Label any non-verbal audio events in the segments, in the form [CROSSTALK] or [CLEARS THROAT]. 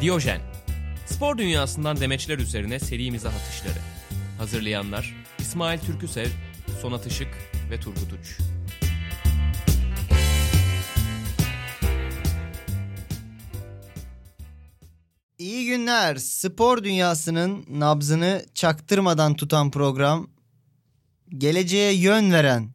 Diyojen. Spor dünyasından demeçler üzerine serimize atışları. Hazırlayanlar İsmail Türküsev, Sonat Işık ve Turgut Uç. İyi günler. Spor dünyasının nabzını çaktırmadan tutan program. Geleceğe yön [LAUGHS] veren.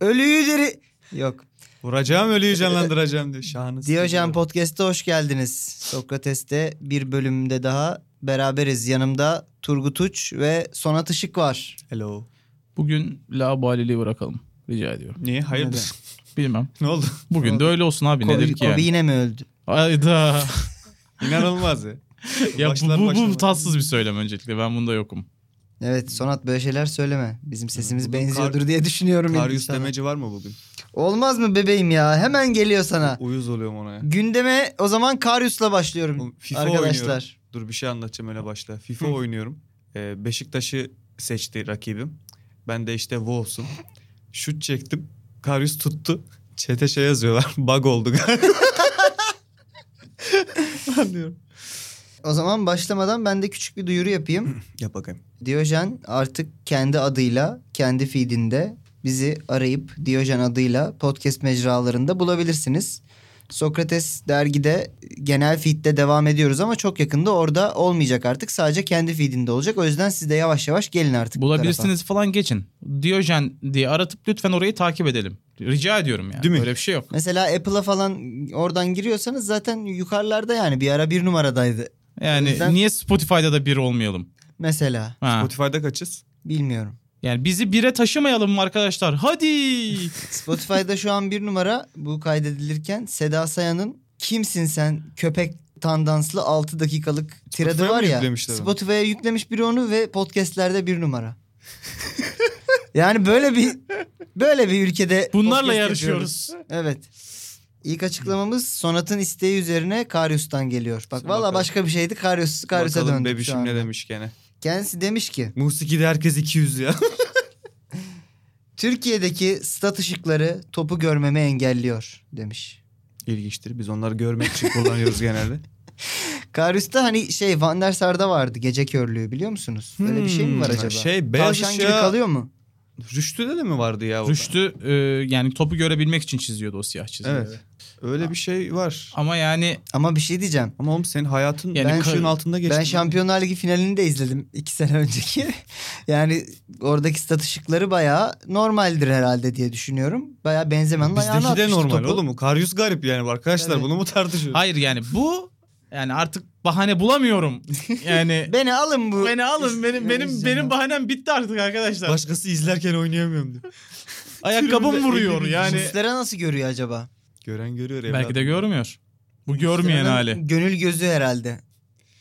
Ölüyü diri... Yok. Vuracağım ölüyü canlandıracağım diyor. Şahınız. Diyojen Podcast'a hoş geldiniz. Sokrates'te bir bölümde daha beraberiz. Yanımda Turgut Uç ve Sonat Işık var. Hello. Bugün labaliliği bırakalım. Rica ediyorum. Niye? Hayırdır? Bilmem. [LAUGHS] ne oldu? Bugün de öyle olsun abi. Kobe, Nedir ki Kobe yani? yine mi öldü? [LAUGHS] Hayda. İnanılmaz ya. [LAUGHS] ya Başlar bu, bu, bu başlamaz. tatsız bir söylem öncelikle. Ben bunda yokum. Evet Sonat böyle şeyler söyleme. Bizim sesimiz Bugün benziyordur kar- diye düşünüyorum. Karyus insana. demeci var mı bugün? Olmaz mı bebeğim ya? Hemen geliyor sana. Uyuz [LAUGHS] oluyorum ona ya. Gündeme o zaman Karyus'la başlıyorum Oğlum, FIFA oynuyorum. arkadaşlar. Dur bir şey anlatacağım öyle başla. FIFA oynuyorum. Ee, Beşiktaş'ı seçti rakibim. Ben de işte Wolves'um. Şut çektim. Karyus tuttu. Çete şey yazıyorlar. [LAUGHS] Bug oldu galiba. Anlıyorum. O zaman başlamadan ben de küçük bir duyuru yapayım. Yap bakayım. Diyojen artık kendi adıyla, kendi feedinde bizi arayıp Diyojen adıyla podcast mecralarında bulabilirsiniz. Sokrates dergide genel feedde devam ediyoruz ama çok yakında orada olmayacak artık. Sadece kendi feedinde olacak. O yüzden siz de yavaş yavaş gelin artık. bu Bulabilirsiniz falan geçin. Diyojen diye aratıp lütfen orayı takip edelim. Rica ediyorum yani. Değil mi? Öyle bir şey yok. tarafa. Mesela Apple'a falan oradan giriyorsanız zaten yukarılarda yani bir ara bir numaradaydı. Yani O yüzden- niye Spotify'da da bir olmayalım? Mesela Ha. Spotify'da kaçız? bilmiyorum. Yani bizi bire taşımayalım mı [LAUGHS] arkadaşlar? Hadi. Spotify'da şu an bir numara bu kaydedilirken Seda Sayan'ın Kimsin Sen köpek tandanslı 6 dakikalık tiradı Spotify'a var mı ya. yüklemişler onu? Spotify'a yüklemiş biri onu ve podcastlerde bir numara. yani böyle bir böyle bir [LAUGHS] ülkede Bunlarla podcast yarışıyoruz. yapıyoruz. Evet. İlk açıklamamız Sonat'ın isteği üzerine Karyus'tan geliyor. Bak Şimdi valla bakalım. başka bir şeydi Karyus, Karyus'a Bakalım döndük şu bebişim anda. ne demiş gene. Kendisi demiş ki Musiki'de herkes 200 ya. [LAUGHS] Türkiye'deki stat ışıkları topu görmemi engelliyor demiş. İlginçtir. Biz onları [LAUGHS] görmek için kullanıyoruz genelde. Karius'ta hani şey Van der Sar'da vardı gece körlüğü biliyor musunuz? Öyle bir şey mi var Hmm, acaba? şey, beyaz Tavşan gibi ışığa- kalıyor mu? Rüştü'de de mi vardı ya? o da? Rüştü e, yani topu görebilmek için çiziyordu o siyah çizgileri. Evet. Öyle bir şey var. Ama yani Ama bir şey diyeceğim. Ama oğlum senin hayatın Yani ben, ben- ışığın altında geçti. Ben Şampiyonlar Ligi finalini de izledim iki [LAUGHS] sene önceki. yani oradaki stat ışıkları bayağı normaldir herhalde diye düşünüyorum. Bayağı benzemenin ayağına Bizdeki de atmıştı normal topu. oğlum. Karyus garip yani arkadaşlar Tabii. bunu mu tartışıyoruz? [LAUGHS] Hayır yani bu yani artık bahane bulamıyorum. Yani Beni alın [LAUGHS] bu. beni alın benim benim benim bahanem bitti artık arkadaşlar. Başkası izlerken [LAUGHS] oynayamıyorum diyor. Ayakkabım Tribünde vuruyor elli bin yani. Sizlere nasıl görüyor acaba? Gören görüyor evladım. Belki de görmüyor. Bu görmeyen Sizlerin hali. Gönül gözü herhalde.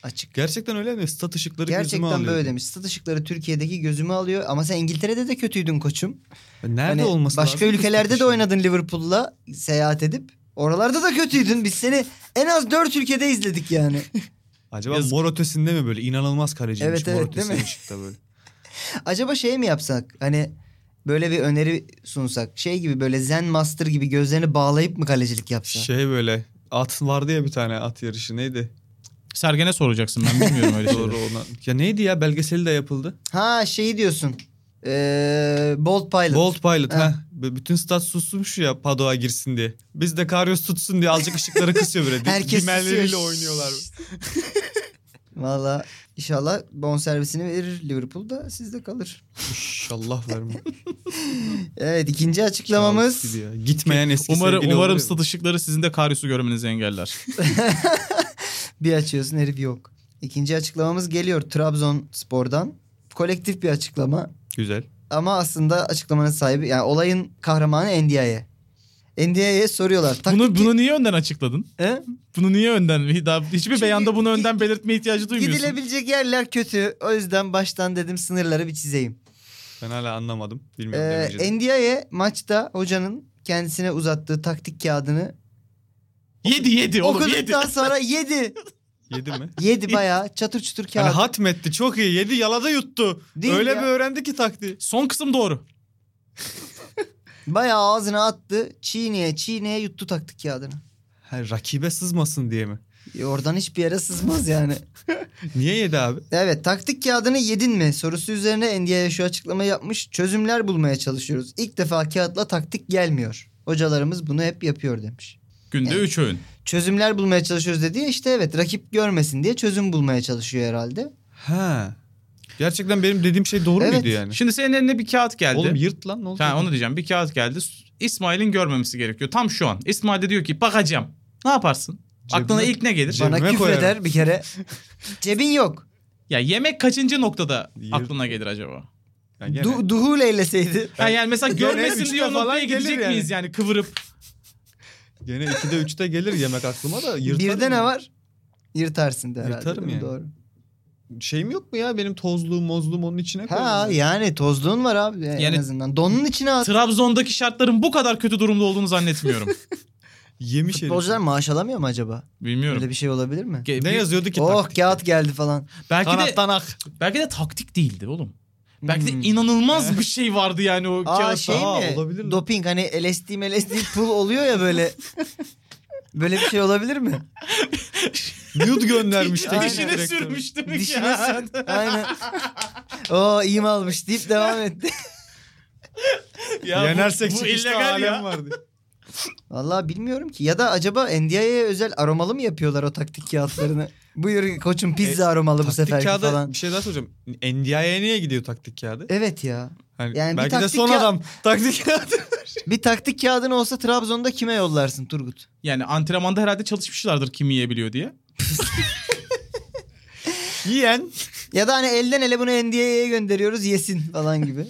Açık. Gerçekten öyle mi? Stat ışıkları gözüme alıyor. Gerçekten böyle demiş. Stat ışıkları Türkiye'deki gözümü alıyor. Ama sen İngiltere'de de kötüydün koçum. Nerede Hani olması lazım? başka ki stat ülkelerde de ışığı? oynadın Liverpool'la seyahat edip. Oralarda da kötüydün. Biz seni en az dört ülkede izledik [LAUGHS] yani. Acaba Yazık. mor ötesinde mi böyle? İnanılmaz kaleciymiş Evet, evet, mor değil ötesi mi? ışıkta [LAUGHS] böyle. [LAUGHS] Acaba şey mi yapsak? Hani böyle bir öneri sunsak. Şey gibi böyle Zen Master gibi gözlerini bağlayıp mı kalecilik yapsa? Şey böyle at vardı ya bir tane at yarışı neydi? Sergen'e soracaksın ben bilmiyorum [LAUGHS] öyle şeyleri. Doğru ona. Ya neydi ya belgeseli de yapıldı. Ha şeyi diyorsun. Ee, Bolt Pilot. Bolt Pilot Ha. ha. B- Bütün stat susmuş ya Padoa girsin diye. Biz de Karyos tutsun diye azıcık ışıkları [LAUGHS] kısıyor böyle. Di- Herkes şey- Dimelleriyle susuyor. [LAUGHS] oynuyorlar. Valla inşallah bon servisini verir Liverpool'da sizde kalır. İnşallah vermem. Evet ikinci açıklamamız. Gitmeyen eski Umarım sevgili umarım oluyor. stat ışıkları sizin de karyusu görmenizi engeller. Bir açıyorsun herif yok. İkinci açıklamamız geliyor Trabzonspor'dan. Kolektif bir açıklama. Güzel. Ama aslında açıklamanın sahibi yani olayın kahramanı NDI'ye. NDI'ye soruyorlar. Taktik Bunu bunu niye önden açıkladın? He? Bunu niye önden? Daha hiçbir Çünkü beyanda bunu gi- önden belirtme ihtiyacı duymuyorsun. gidilebilecek yerler kötü. O yüzden baştan dedim sınırları bir çizeyim. Ben hala anlamadım. Bilmiyorum Ee, demeyeceğim. NDI'ye maçta hocanın kendisine uzattığı taktik kağıdını Yedi yedi oğlum yedi. okuduktan sonra [LAUGHS] yedi. Yedi mi? Yedi bayağı çatır çutur Hani kağıt. hatmetti çok iyi. Yedi yalada yuttu. Değil Öyle ya. bir öğrendi ki taktiği. Son kısım doğru. Bayağı ağzına attı. Çiğneye çiğneye yuttu taktik kağıdını. Ha, rakibe sızmasın diye mi? E, Oradan hiçbir yere sızmaz yani. Niye yedi abi? Evet taktik kağıdını yedin mi sorusu üzerine NDI'ye şu açıklama yapmış. Çözümler bulmaya çalışıyoruz. İlk defa kağıtla taktik gelmiyor. Hocalarımız bunu hep yapıyor demiş. Günde Evet. 3 öğün. Çözümler bulmaya çalışıyoruz dediği işte evet rakip görmesin diye çözüm bulmaya çalışıyor herhalde. Ha. Gerçekten benim dediğim şey doğru Evet. muydu yani? Şimdi senin eline bir kağıt geldi. Oğlum yırt lan ne oldu? Ha, onu diyeceğim. Bir kağıt geldi. İsmail'in görmemesi gerekiyor. Tam şu an. İsmail de diyor ki bakacağım. Ne yaparsın? Cebine- Aklına ilk ne gelir? Cebime Bana koyarım. küfreder bir [LAUGHS] kere. Cebin yok. Ya yemek kaçıncı noktada Yer- aklına gelir acaba? Yani gene- Du- duhul eyleseydi. Ha, yani mesela Yemek üçte görmesin diyor falan noktaya gelir gidecek yani. miyiz yani kıvırıp? Gene 2'de 3'te gelir yemek aklıma da yırtarım. Birde ne var? Yırtarsın da herhalde. Yırtarım yani. Doğru. Şeyim yok mu ya benim tozluğum mozluğum onun içine koyarım. Ha ya. yani tozluğun var abi en Yani- azından. Donun içine at. Trabzon'daki şartların bu kadar kötü durumda olduğunu zannetmiyorum. Yemiş herif. Futbolcular maaş alamıyor mu acaba? Bilmiyorum. Öyle bir şey olabilir mi? Ge- Ne bir- yazıyordu ki? Oh taktikte? kağıt geldi falan. Belki Tanak de tanak. belki de taktik değildi oğlum. Belki de Hmm. inanılmaz bir şey vardı yani o Aa kağıtta. şey Aa, mi? olabilir mi? Doping hani LSD LSD pul oluyor ya [LAUGHS] böyle. böyle bir şey olabilir mi? [LAUGHS] Nude göndermiş. Aynen. Dişine sürmüş demek Dişine ya. sür. Aynen. Oo iyi mi almış deyip devam etti. [LAUGHS] Ya bu- Yenersek bu, çıkışta illegal alem [LAUGHS] ya. vardı. Vallahi bilmiyorum ki. Ya da acaba NDI'ye özel aromalı mı yapıyorlar o taktik kağıtlarını? Buyur koçum pizza E, aromalı bu taktik seferki kağıda falan. bir şey daha soracağım. NDI'ye niye gidiyor taktik kağıdı? Evet ya. Hani yani bir belki de taktik son ya- adam [LAUGHS] taktik kağıdı. Bir taktik kağıdın olsa Trabzon'da kime yollarsın Turgut? Yani antrenmanda herhalde çalışmışlardır kim yiyebiliyor diye. Yiyen Ya da hani elden ele bunu NDI'ye gönderiyoruz yesin falan [LAUGHS] gibi.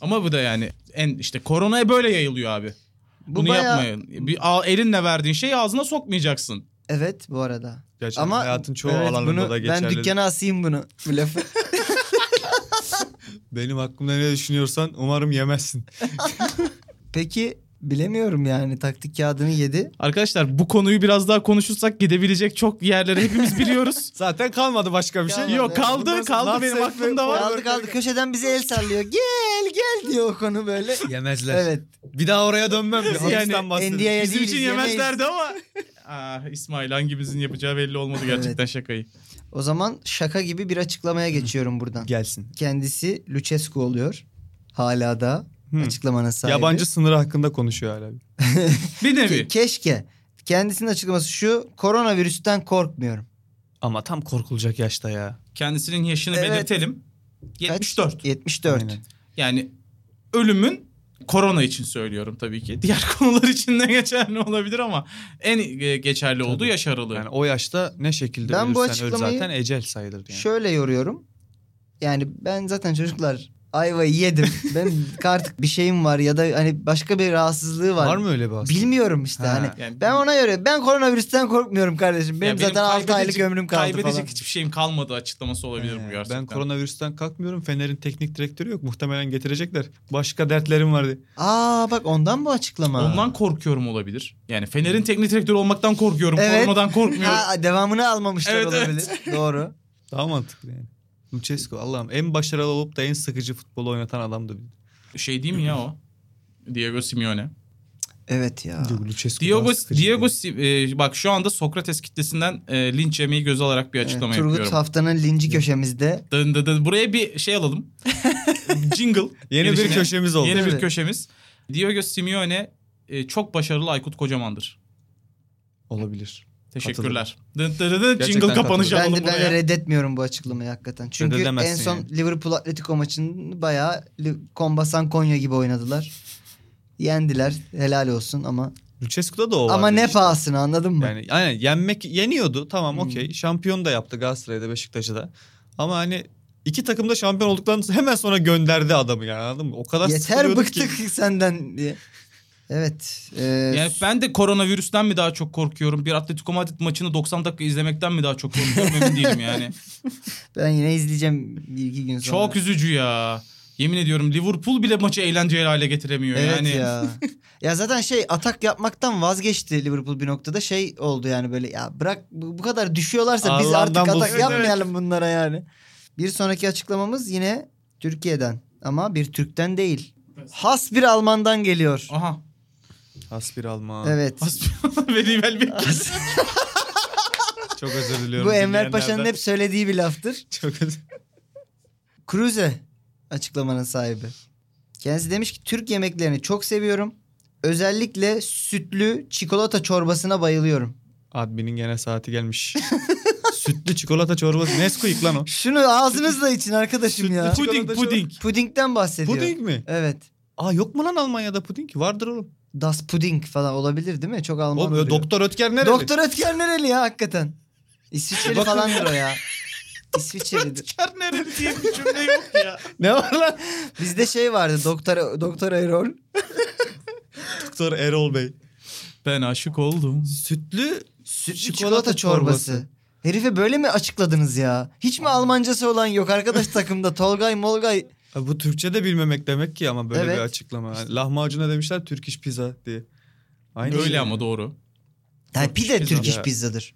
Ama bu da yani en işte koronaya böyle yayılıyor abi. Bu Bunu bayağı- yapmayın. Bir al- elinle verdiğin şeyi ağzına sokmayacaksın. Evet bu arada. Gerçekten Ama hayatın çoğu evet, alanında bunu, da geçerli. Ben dükkana asayım bunu bu lafı. [LAUGHS] Benim hakkımda ne düşünüyorsan umarım [LAUGHS] yemezsin. Peki bilemiyorum yani taktik kağıdını yedi. Arkadaşlar bu konuyu biraz daha konuşursak gidebilecek çok yerleri hepimiz biliyoruz. Zaten kalmadı başka bir şey. Kalmadı. Yok kaldı Bundan kaldı sonra benim Nazif aklımda ve- var. Kaldı kaldı köşeden bize el sallıyor. [LAUGHS] Gel gel diyor o konu böyle. Yemezler. Evet. Bir daha oraya dönmem. Bir Yani hapisten bahsediyorum. NDI'ye Bizim için değiliz, yemeyiz. yemezlerdi [LAUGHS] ama. Aa, Ah, İsmail hangimizin yapacağı belli olmadı gerçekten şakayı. O zaman şaka gibi bir açıklamaya geçiyorum buradan. Gelsin. Kendisi Lucescu oluyor. Hala da Hı. açıklamanın sahibi. Yabancı sınırı hakkında konuşuyor hala. Bir nevi. Ke- keşke. Kendisinin açıklaması şu. Koronavirüsten korkmuyorum. Ama tam korkulacak yaşta ya. Kendisinin yaşını Evet. belirtelim. Kaç? 74. 74. Aynen. Yani ölümün korona için söylüyorum tabii ki. [LAUGHS] Diğer konular için de geçerli olabilir ama en e, geçerli olduğu yaş aralığı. Yani o yaşta ne şekilde Ben bu ölürsen öl açıklamayı- zaten ecel sayılır yani. Şöyle yoruyorum. Yani ben zaten çocuklar ayvayı yedim. [LAUGHS] ben artık bir şeyim var ya da hani başka bir rahatsızlığı var. Var mı öyle bir hasta? Bilmiyorum işte Ha. hani. Yani- Ben ona göre ben koronavirüsten korkmuyorum kardeşim. Ya Benim zaten 6 aylık kaybedecek- ömrüm kaldı Kaybedecek falan. Ee, hiçbir şeyim kalmadı açıklaması olabilir bu He, gerçekten. Ee, ben koronavirüsten kalkmıyorum. Fener'in teknik direktörü yok. Muhtemelen getirecekler. Başka dertlerim vardı. Aa bak ondan bu açıklama. Ondan korkuyorum olabilir. Yani Fener'in teknik direktörü olmaktan korkuyorum. Evet. Koronadan korkmuyorum. [LAUGHS] Ha, devamını almamışlar Evet, evet. olabilir. Doğru. Daha mantıklı yani. Lucescu Allah'ım en başarılı olup da en sıkıcı futbol oynatan adamdı. şey değil mi ya o? Diego Simeone. Evet ya. Lucescu Diego daha sıkıcı Diego değil. Si- e, bak şu anda Sokrates kitlesinden e, linç yemeyi göz alarak bir açıklama Evet, Turgut yapıyorum. haftanın linci köşemizde. Dın dın dın. Buraya bir şey [LAUGHS] alalım. Jingle. Yeni bir Gelişine. köşemiz oldu. Yeni bir Evet. köşemiz. Diego Simeone e, çok başarılı Aykut Kocaman'dır. Olabilir. Teşekkürler. Dın dın dın dın. Jingle Gerçekten kapanışı Ben alalım de, ben de buraya. reddetmiyorum bu açıklamayı hakikaten. Çünkü en Reddedemezsin son yani. Liverpool Atletico maçını bayağı Li- Kombasan Konya gibi oynadılar. Yendiler. Helal olsun ama Lucescu'da da o ama vardı ne işte. pahasına anladın mı? Yani aynen yenmek yeniyordu tamam Hmm. okey. Şampiyon da yaptı Galatasaray'da Beşiktaş'ı da. Ama hani iki takım da şampiyon olduktan sonra [LAUGHS] hemen sonra gönderdi adamı yani anladın mı? O kadar Yeter sıkılıyorduk ki. bıktık senden diye. Evet. e, Yani ben de koronavirüsten mi daha çok korkuyorum? Bir Atletico Madrid maçını 90 dakika izlemekten mi daha çok korkuyorum? Emin [LAUGHS] değilim yani. ben yine izleyeceğim bir iki gün sonra. Çok üzücü ya. Yemin ediyorum Liverpool bile maçı eğlenceli hale getiremiyor Evet yani. ya. [LAUGHS] ya zaten şey atak yapmaktan vazgeçti Liverpool bir noktada şey oldu yani böyle ya bırak bu bu kadar düşüyorlarsa biz Allah'ından artık atak bulsun. Evet, yapmayalım bunlara yani. Bir sonraki açıklamamız yine Türkiye'den ama bir Türk'ten değil. Has bir Alman'dan geliyor. Aha. [LAUGHS] Hasbir Alman. Evet. Hasbinallah ve nivel vekil. Çok özür diliyorum. Bu Enver dinleyenlerden. Paşa'nın hep söylediği bir laftır. [LAUGHS] Çok özür Cruze açıklamanın sahibi. Kendisi demiş ki Türk yemeklerini çok seviyorum. Özellikle sütlü çikolata çorbasına bayılıyorum. Admin'in gene saati gelmiş. [LAUGHS] Sütlü çikolata çorbası. Nesquik lan o. Şunu ağzınızla için arkadaşım ya. Sütlü Puding çikolata puding. Pudingden bahsediyor. Puding mi? Evet. Aa yok mu lan Almanya'da puding? Vardır oğlum. Das Puding falan olabilir değil mi? Çok Alman Oğlum oluyor. Doktor Ötker nereli? Doktor Ötker nereli ya hakikaten? İsviçreli Bakın- falandır o ya. İsviçrelidir. Kar nereli diye bir cümle yok ya. [LAUGHS] Ne var lan? Bizde şey vardı doktor doktor Erol. Doktor Erol Bey. Ben aşık oldum. Sütlü Sütlü Çikolata çikolata, çorbası. çorbası. Herife böyle mi açıkladınız ya? Hiç mi Almancası olan yok [LAUGHS] arkadaş takımda? Tolgay Molgay. Ha, bu Türkçe de bilmemek demek ki ama böyle Evet. bir açıklama. Yani lahmacuna demişler Türk iş pizza diye. Aynı şey. Öyle ama doğru. Yani pide pizza. Türk iş Ya. pizzadır.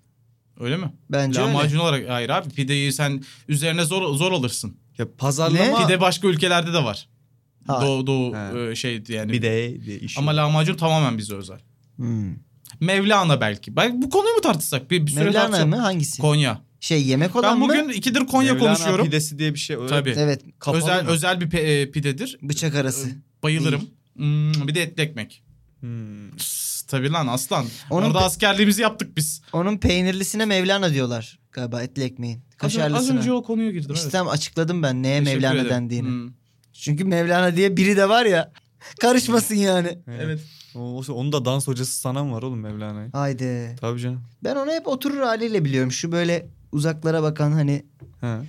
Öyle mi? Bence öyle. Lahmacun olarak hayır abi pideyi sen üzerine zor zor alırsın. Ya pazarlama Pide başka ülkelerde de var. Ha. Doğu doğu He. e, şey yani. Pide diye iş. Ama lahmacun tamamen bize özel. Hmm. Mevlana belki. Belki bu konuyu mu tartışsak? Bir, bir süre Mevlana tartışalım. mı? Hangisi? Konya. şey yemek olan Ben bugün mı? ikidir Konya Mevlana konuşuyorum. pidesi diye bir şey öyle. Tabii. Evet Kapalı özel mı? özel bir pe- e, pidedir. bıçak arası. Bayılırım. Hmm, bir de etli ekmek. Hmm. Pss, Tabii lan aslan. Onun Orada pe- askerliğimizi yaptık biz. Onun peynirlisine Mevlana diyorlar galiba etli ekmeğin. Az, az önce Kaşarlısına. o konuya girdim. İşte evet. tam açıkladım ben neye Teşekkür Mevlana ederim. dendiğini. Hmm, Çünkü Mevlana diye biri de var ya. [LAUGHS] Karışmasın yani. Evet. O, onun da dans hocası sanan var oğlum Mevlana'yı. Haydi. Tabii canım. Ben onu hep oturur haliyle biliyorum. Şu böyle uzaklara bakan hani Ha.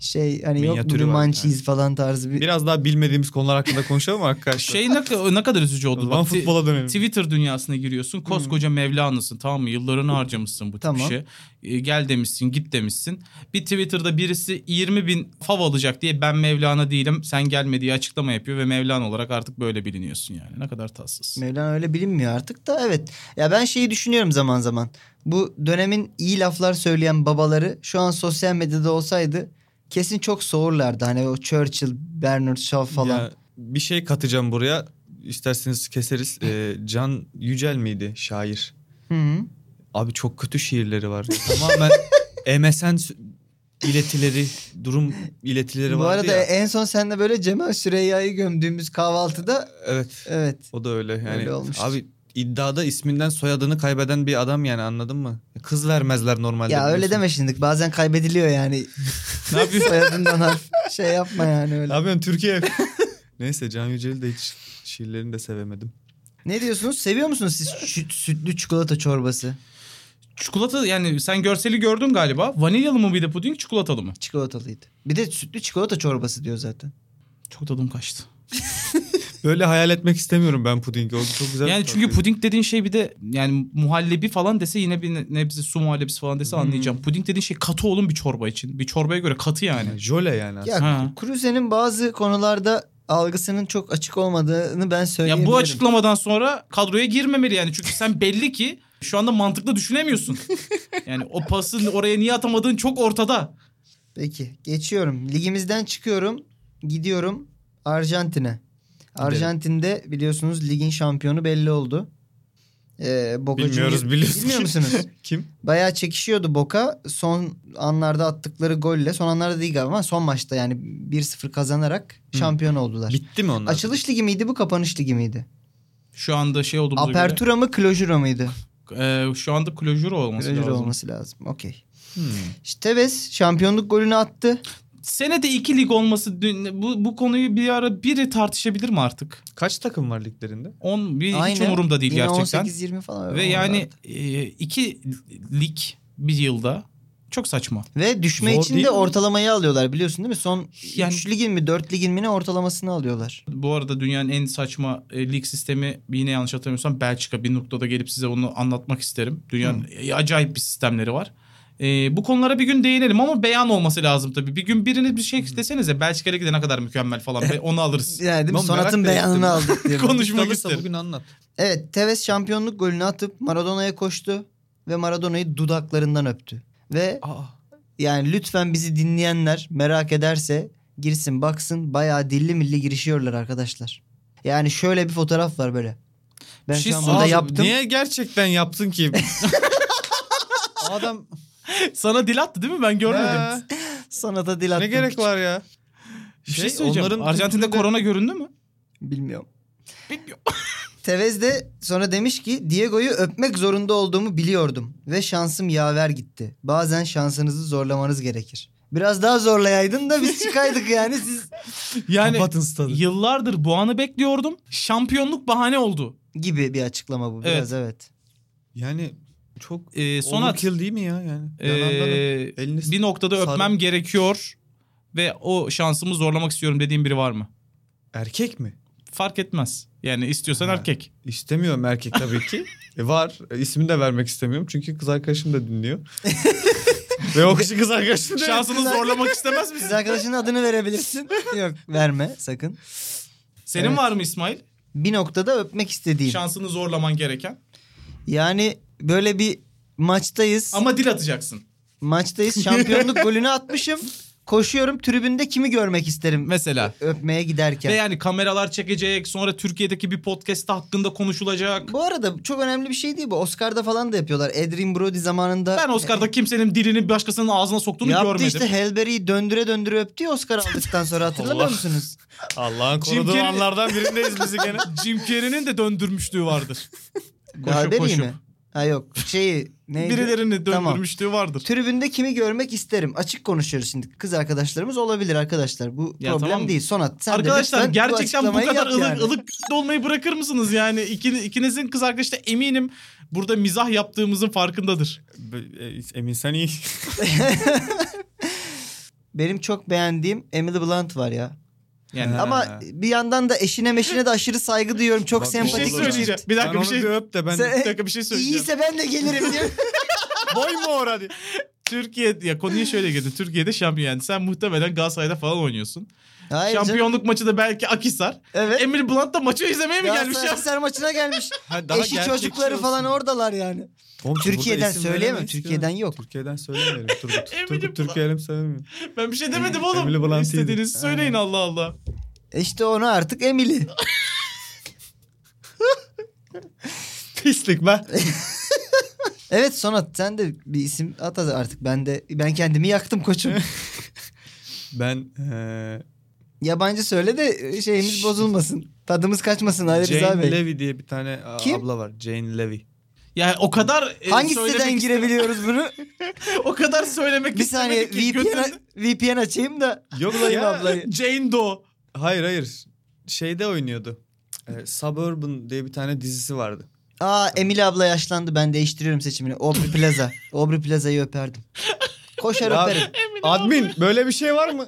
şey hani yok Minyatürü blue var bir man tane. cheese falan tarzı bir Biraz daha bilmediğimiz konular hakkında konuşalım mı arkadaşlar? [LAUGHS] Şey ne, ka- ne kadar üzücü O oldu. zaman Bak, ti- futbola dönelim. Twitter dünyasına giriyorsun. Koskoca Mevlana'sın tamam mı? Yıllarını harcamışsın bu tip Tamam. işe. Ee, Gel demişsin, git demişsin. Bir Twitter'da birisi 20 bin fav alacak diye ben Mevlana değilim, sen gelme diye açıklama yapıyor ve Mevlana olarak artık böyle biliniyorsun yani. Ne kadar tatsız. Mevlana öyle bilinmiyor artık da evet. Ya ben şeyi düşünüyorum zaman zaman. Bu dönemin iyi laflar söyleyen babaları şu an sosyal medyada olsaydı kesin çok soğurlardı. Hani o Churchill, Bernard Shaw falan. Ya, bir şey katacağım buraya. İsterseniz keseriz. Ee, Can Yücel miydi şair? Hı -hı. Abi çok kötü [LAUGHS] şiirleri var. Tamamen MSN sü- iletileri, durum iletileri Bu vardı arada E- ya. en son seninle böyle Cemal Süreyya'yı gömdüğümüz kahvaltıda Evet. evet. O da öyle yani. Öyle olmuştur. Abi iddiada isminden soyadını kaybeden bir adam yani anladın mı? Kız vermezler normalde. Ya öyle biliyorsun. deme şimdi. Bazen kaybediliyor yani. Ne yapıyorsun? Soyadından harf şey yapma yani öyle. ne yapıyorsun [LAUGHS] Türkiye? Neyse Can Yücel'i de hiç şiirlerini de sevemedim. Ne diyorsunuz? Seviyor musunuz siz şü- sütlü çikolata çorbası? Çikolata yani sen görseli gördün galiba. Vanilyalı mı bir de puding, çikolatalı mı? Çikolatalıydı. Bir de sütlü çikolata çorbası diyor zaten. Çok tadım kaçtı. Böyle hayal etmek istemiyorum ben pudingi. O çok güzel. bir Yani tat çünkü veriyor. puding dediğin şey bir de yani muhallebi falan dese yine bir ne- nebze su muhallebisi falan dese anlayacağım. Puding dediğin şey katı olun bir çorba için. Bir çorbaya göre katı yani. Yani jöle yani. aslında. Ya Ha. Cruze'nin bazı konularda algısının çok açık olmadığını ben Ya söyleyebilirim. bu açıklamadan sonra kadroya girmemeli yani. Çünkü sen belli ki şu anda mantıklı düşünemiyorsun. [LAUGHS] Yani o pasın oraya niye atamadığın çok ortada. Peki geçiyorum. Ligimizden çıkıyorum. Gidiyorum Arjantin'e. Arjantin'de biliyorsunuz ligin şampiyonu belli oldu. Ee, Boca Bilmiyoruz, Junior- biliyorsun. Bilmiyor [LAUGHS] musunuz? [LAUGHS] Kim? Bayağı çekişiyordu Boca. Son anlarda attıkları golle son anlarda değil galiba ama son maçta yani 1-0 kazanarak şampiyon oldular. Bitti mi onlar? Açılış ligi miydi bu kapanış ligi miydi? Şu anda şey olduğumuza göre, Apertura mı Klojura mıydı? e, şu anda klojura olması Klojura lazım. olması lazım. Okey. Hmm. İşte Tevez şampiyonluk golünü attı. Senede iki lig olması dün- bu, bu konuyu bir ara biri tartışabilir mi artık? Kaç takım var liglerinde? 10 bir hiç Aynen. umurumda değil Yine gerçekten. 18-20 falan. Ve öyle yani oldu. e, iki lig bir yılda çok saçma. Ve düşme Zor için değil de mi? ortalamayı alıyorlar biliyorsun değil mi? Son Yani- 3 ligin mi 4 ligin mi ne ortalamasını alıyorlar. Bu arada dünyanın en saçma e, lig sistemi yine yanlış hatırlamıyorsam Belçika bir noktada gelip size onu anlatmak isterim. Dünyanın e, acayip bir sistemleri var. E, bu konulara bir gün değinelim ama beyan olması lazım tabii. Bir gün biriniz bir şey desenize Belçika Ligi de ne kadar mükemmel falan Be- [LAUGHS] onu alırız. Yani değil mi? Lan Sonat'ın merak da beyanını ettim. aldık [LAUGHS] diye. Konuş- Konuşmak Konuşmak isterim. Bugün anlat. [LAUGHS] evet Tevez şampiyonluk golünü atıp Maradona'ya koştu. Ve Maradona'yı dudaklarından öptü. Ve Aa. yani lütfen bizi dinleyenler merak ederse girsin baksın bayağı dilli milli girişiyorlar arkadaşlar. Yani şöyle bir fotoğraf var böyle. Ben Bir şey şu an söyleyeyim. burada [LAUGHS] Abi, yaptım. Niye gerçekten yaptın ki? Adam Sana dil attı değil mi? Ben görmedim. Ha, Sana da dil attım. ne gerek var ya? Bir şey, Şey, söyleyeceğim. onların Arjantin'de kültüründe- korona göründü mü? Bilmiyorum. Bilmiyorum. [LAUGHS] Tevez de sonra demiş ki Diego'yu öpmek zorunda olduğumu biliyordum ve şansım yaver gitti. Bazen şansınızı zorlamanız gerekir. Biraz daha zorlayaydın da biz çıkaydık yani siz Yani kapatın stadı yıllardır bu anı bekliyordum. Şampiyonluk bahane oldu. gibi bir açıklama bu biraz evet. Yani çok Ee, Sonat overkill değil mi ya yani? ee, Yanandan elini bir noktada sarın. öpmem gerekiyor ve o şansımı zorlamak istiyorum dediğin biri var mı? Erkek mi? Fark etmez. Yani istiyorsan [LAUGHS] Ha. erkek. İstemiyorum erkek tabii [LAUGHS] ki. E, var. E, ismini de vermek istemiyorum çünkü kız arkadaşım da [LAUGHS] dinliyor. Ve o kişi kız arkadaşım da. Şansını zorlamak istemez misin? Kız arkadaşının adını [LAUGHS] verebilirsin. Yok verme sakın. Senin Evet. var mı İsmail? Bir noktada öpmek istediğim. Şansını zorlaman gereken. Yani böyle bir maçtayız. Ama dil atacaksın. Maçtayız. [LAUGHS] Şampiyonluk golünü atmışım. Koşuyorum tribünde kimi görmek isterim Mesela. öpmeye giderken. Ve yani kameralar çekecek. Sonra Türkiye'deki bir podcast hakkında konuşulacak. Bu arada çok önemli bir şey değil bu. Oscar'da falan da yapıyorlar. Adrien Brody zamanında Ben Oscar'da kimsenin dilini başkasının ağzına soktuğunu yaptı görmedim. işte Helberry'i döndüre döndüre öptü ya Oscar aldıktan sonra [LAUGHS] hatırlamıyor Allah. musunuz? Allah'ın Jim koruduğu Carrey- anlardan birindeyiz bizi gene. [LAUGHS] Jim Carrey'nin de döndürmüşlüğü vardır. Helberry koşup. mi? Ha yok. Şeyi neydi? Birilerini Tamam. döndürmüşlüğü vardır. Tribünde kimi görmek isterim? Açık konuşuyoruz şimdi. Kız arkadaşlarımız olabilir arkadaşlar. Bu Ya problem tamam. değil. Sonat sen de Arkadaşlar lütfen gerçekten bu açıklamayı kadar yap ılık yani. ılık olmayı bırakır mısınız yani? İkini- ikinizin kız arkadaşı da eminim burada mizah yaptığımızın farkındadır. B- e, Emin sen iyi. Benim çok beğendiğim Emily Blunt var ya. Yani Ha. Ama bir yandan da eşine meşine de aşırı saygı duyuyorum. Çok Bak, bir şey sempatik olur bir ya. söyleyeceğim. çift. Bir Sen dakika bir onu şey. bir öp de ben Sen- Bir dakika bir şey söyleyeceğim. İyiyse ben de gelirim [LAUGHS] diye. boy mu orada? diye. Türkiye ya konuya şöyle girdi. Türkiye'de şampiyon yani sen muhtemelen Galatasaray'da falan oynuyorsun. Hayır canım. Şampiyonluk maçı da belki Akisar. Evet. Emil Blunt da maçı izlemeye mi gelmiş ya? Galatasaray maçına gelmiş. Ha, [LAUGHS] daha Eşi gerçekçi çocukları olsun. falan oradalar yani. Oğlum, burada Türkiye'den isim söyleyemem. veremeyiz ki. Türkiye'den yok. Türkiye'den söylemiyorum. [LAUGHS] Turgut. Eminim Turgut ulan. Türkiye'den söylemiyorum. Ben bir şey demedim Emily oğlum. Blunt İstediğinizi iyiydi. söyleyin Allah Allah. İşte E onu artık Emily. [LAUGHS] Pislik be. Evet Sonat sen de bir isim at hadi artık. Ben de ben kendimi yaktım [LAUGHS] koçum. Ben e, eee Yabancı söyle de e, şeyimiz bozulmasın. Tadımız kaçmasın Ali Rıza Jane Bey. Levy diye bir tane a, Kim? abla var. Jane Levy. Yani o kadar e, Hangi söylemek siteden girebiliyoruz [LAUGHS] bunu? [LAUGHS] O kadar söylemek bir saniye istemedi ki VPN, götürdü. VPN açayım da Yok bulayım ablayı. [LAUGHS] Jane Doe. Hayır hayır. Şeyde oynuyordu. Ee, Suburban diye bir tane dizisi vardı. Aa Emily abla yaşlandı ben değiştiriyorum seçimini. Aubrey [LAUGHS] Plaza. Aubrey Plaza'yı öperdim. Koşar Ya- [LAUGHS] öperim. Admin böyle bir şey var mı?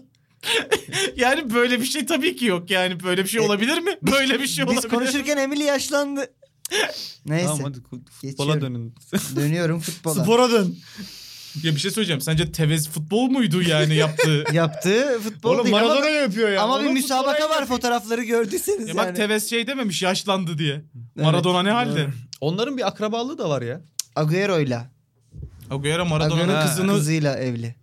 Yani böyle bir şey tabii ki yok. Yani böyle bir şey E, olabilir mi? Böyle bir şey Biz olabilir. [LAUGHS] konuşurken Emily yaşlandı. Neyse Tamam hadi fut- futbola Geçiyorum. [LAUGHS] dönün. dönüyorum futbola. Spora dön. Ya bir şey söyleyeceğim. Sence Tevez futbol muydu [LAUGHS] yani yaptığı? Yaptığı futbol Oğlum değil ama, Maradona yapıyor ya. ama bir Onun müsabaka futbola- var fotoğrafları gördüyseniz ya E yani. bak Tevez şey dememiş yaşlandı diye. Evet. Maradona ne halde? Doğru. Onların bir akrabalığı da var ya. Agüero'yla. Agüero Agüero'nun Maradona'nın kızını kızıyla evli.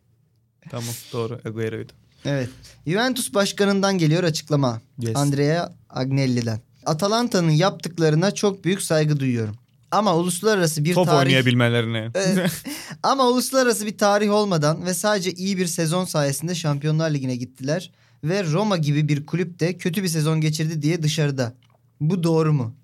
Tamam doğru Agüero'ydu. Evet. Juventus başkanından geliyor açıklama. Yes. Andrea Agnelli'den. Atalanta'nın yaptıklarına çok büyük saygı duyuyorum. Ama uluslararası bir Top tarih oynayabilmelerine. Evet. Ama uluslararası bir tarih olmadan ve sadece iyi bir sezon sayesinde Şampiyonlar Ligi'ne gittiler ve Roma gibi bir kulüp de kötü bir sezon geçirdi diye dışarıda. Bu doğru mu?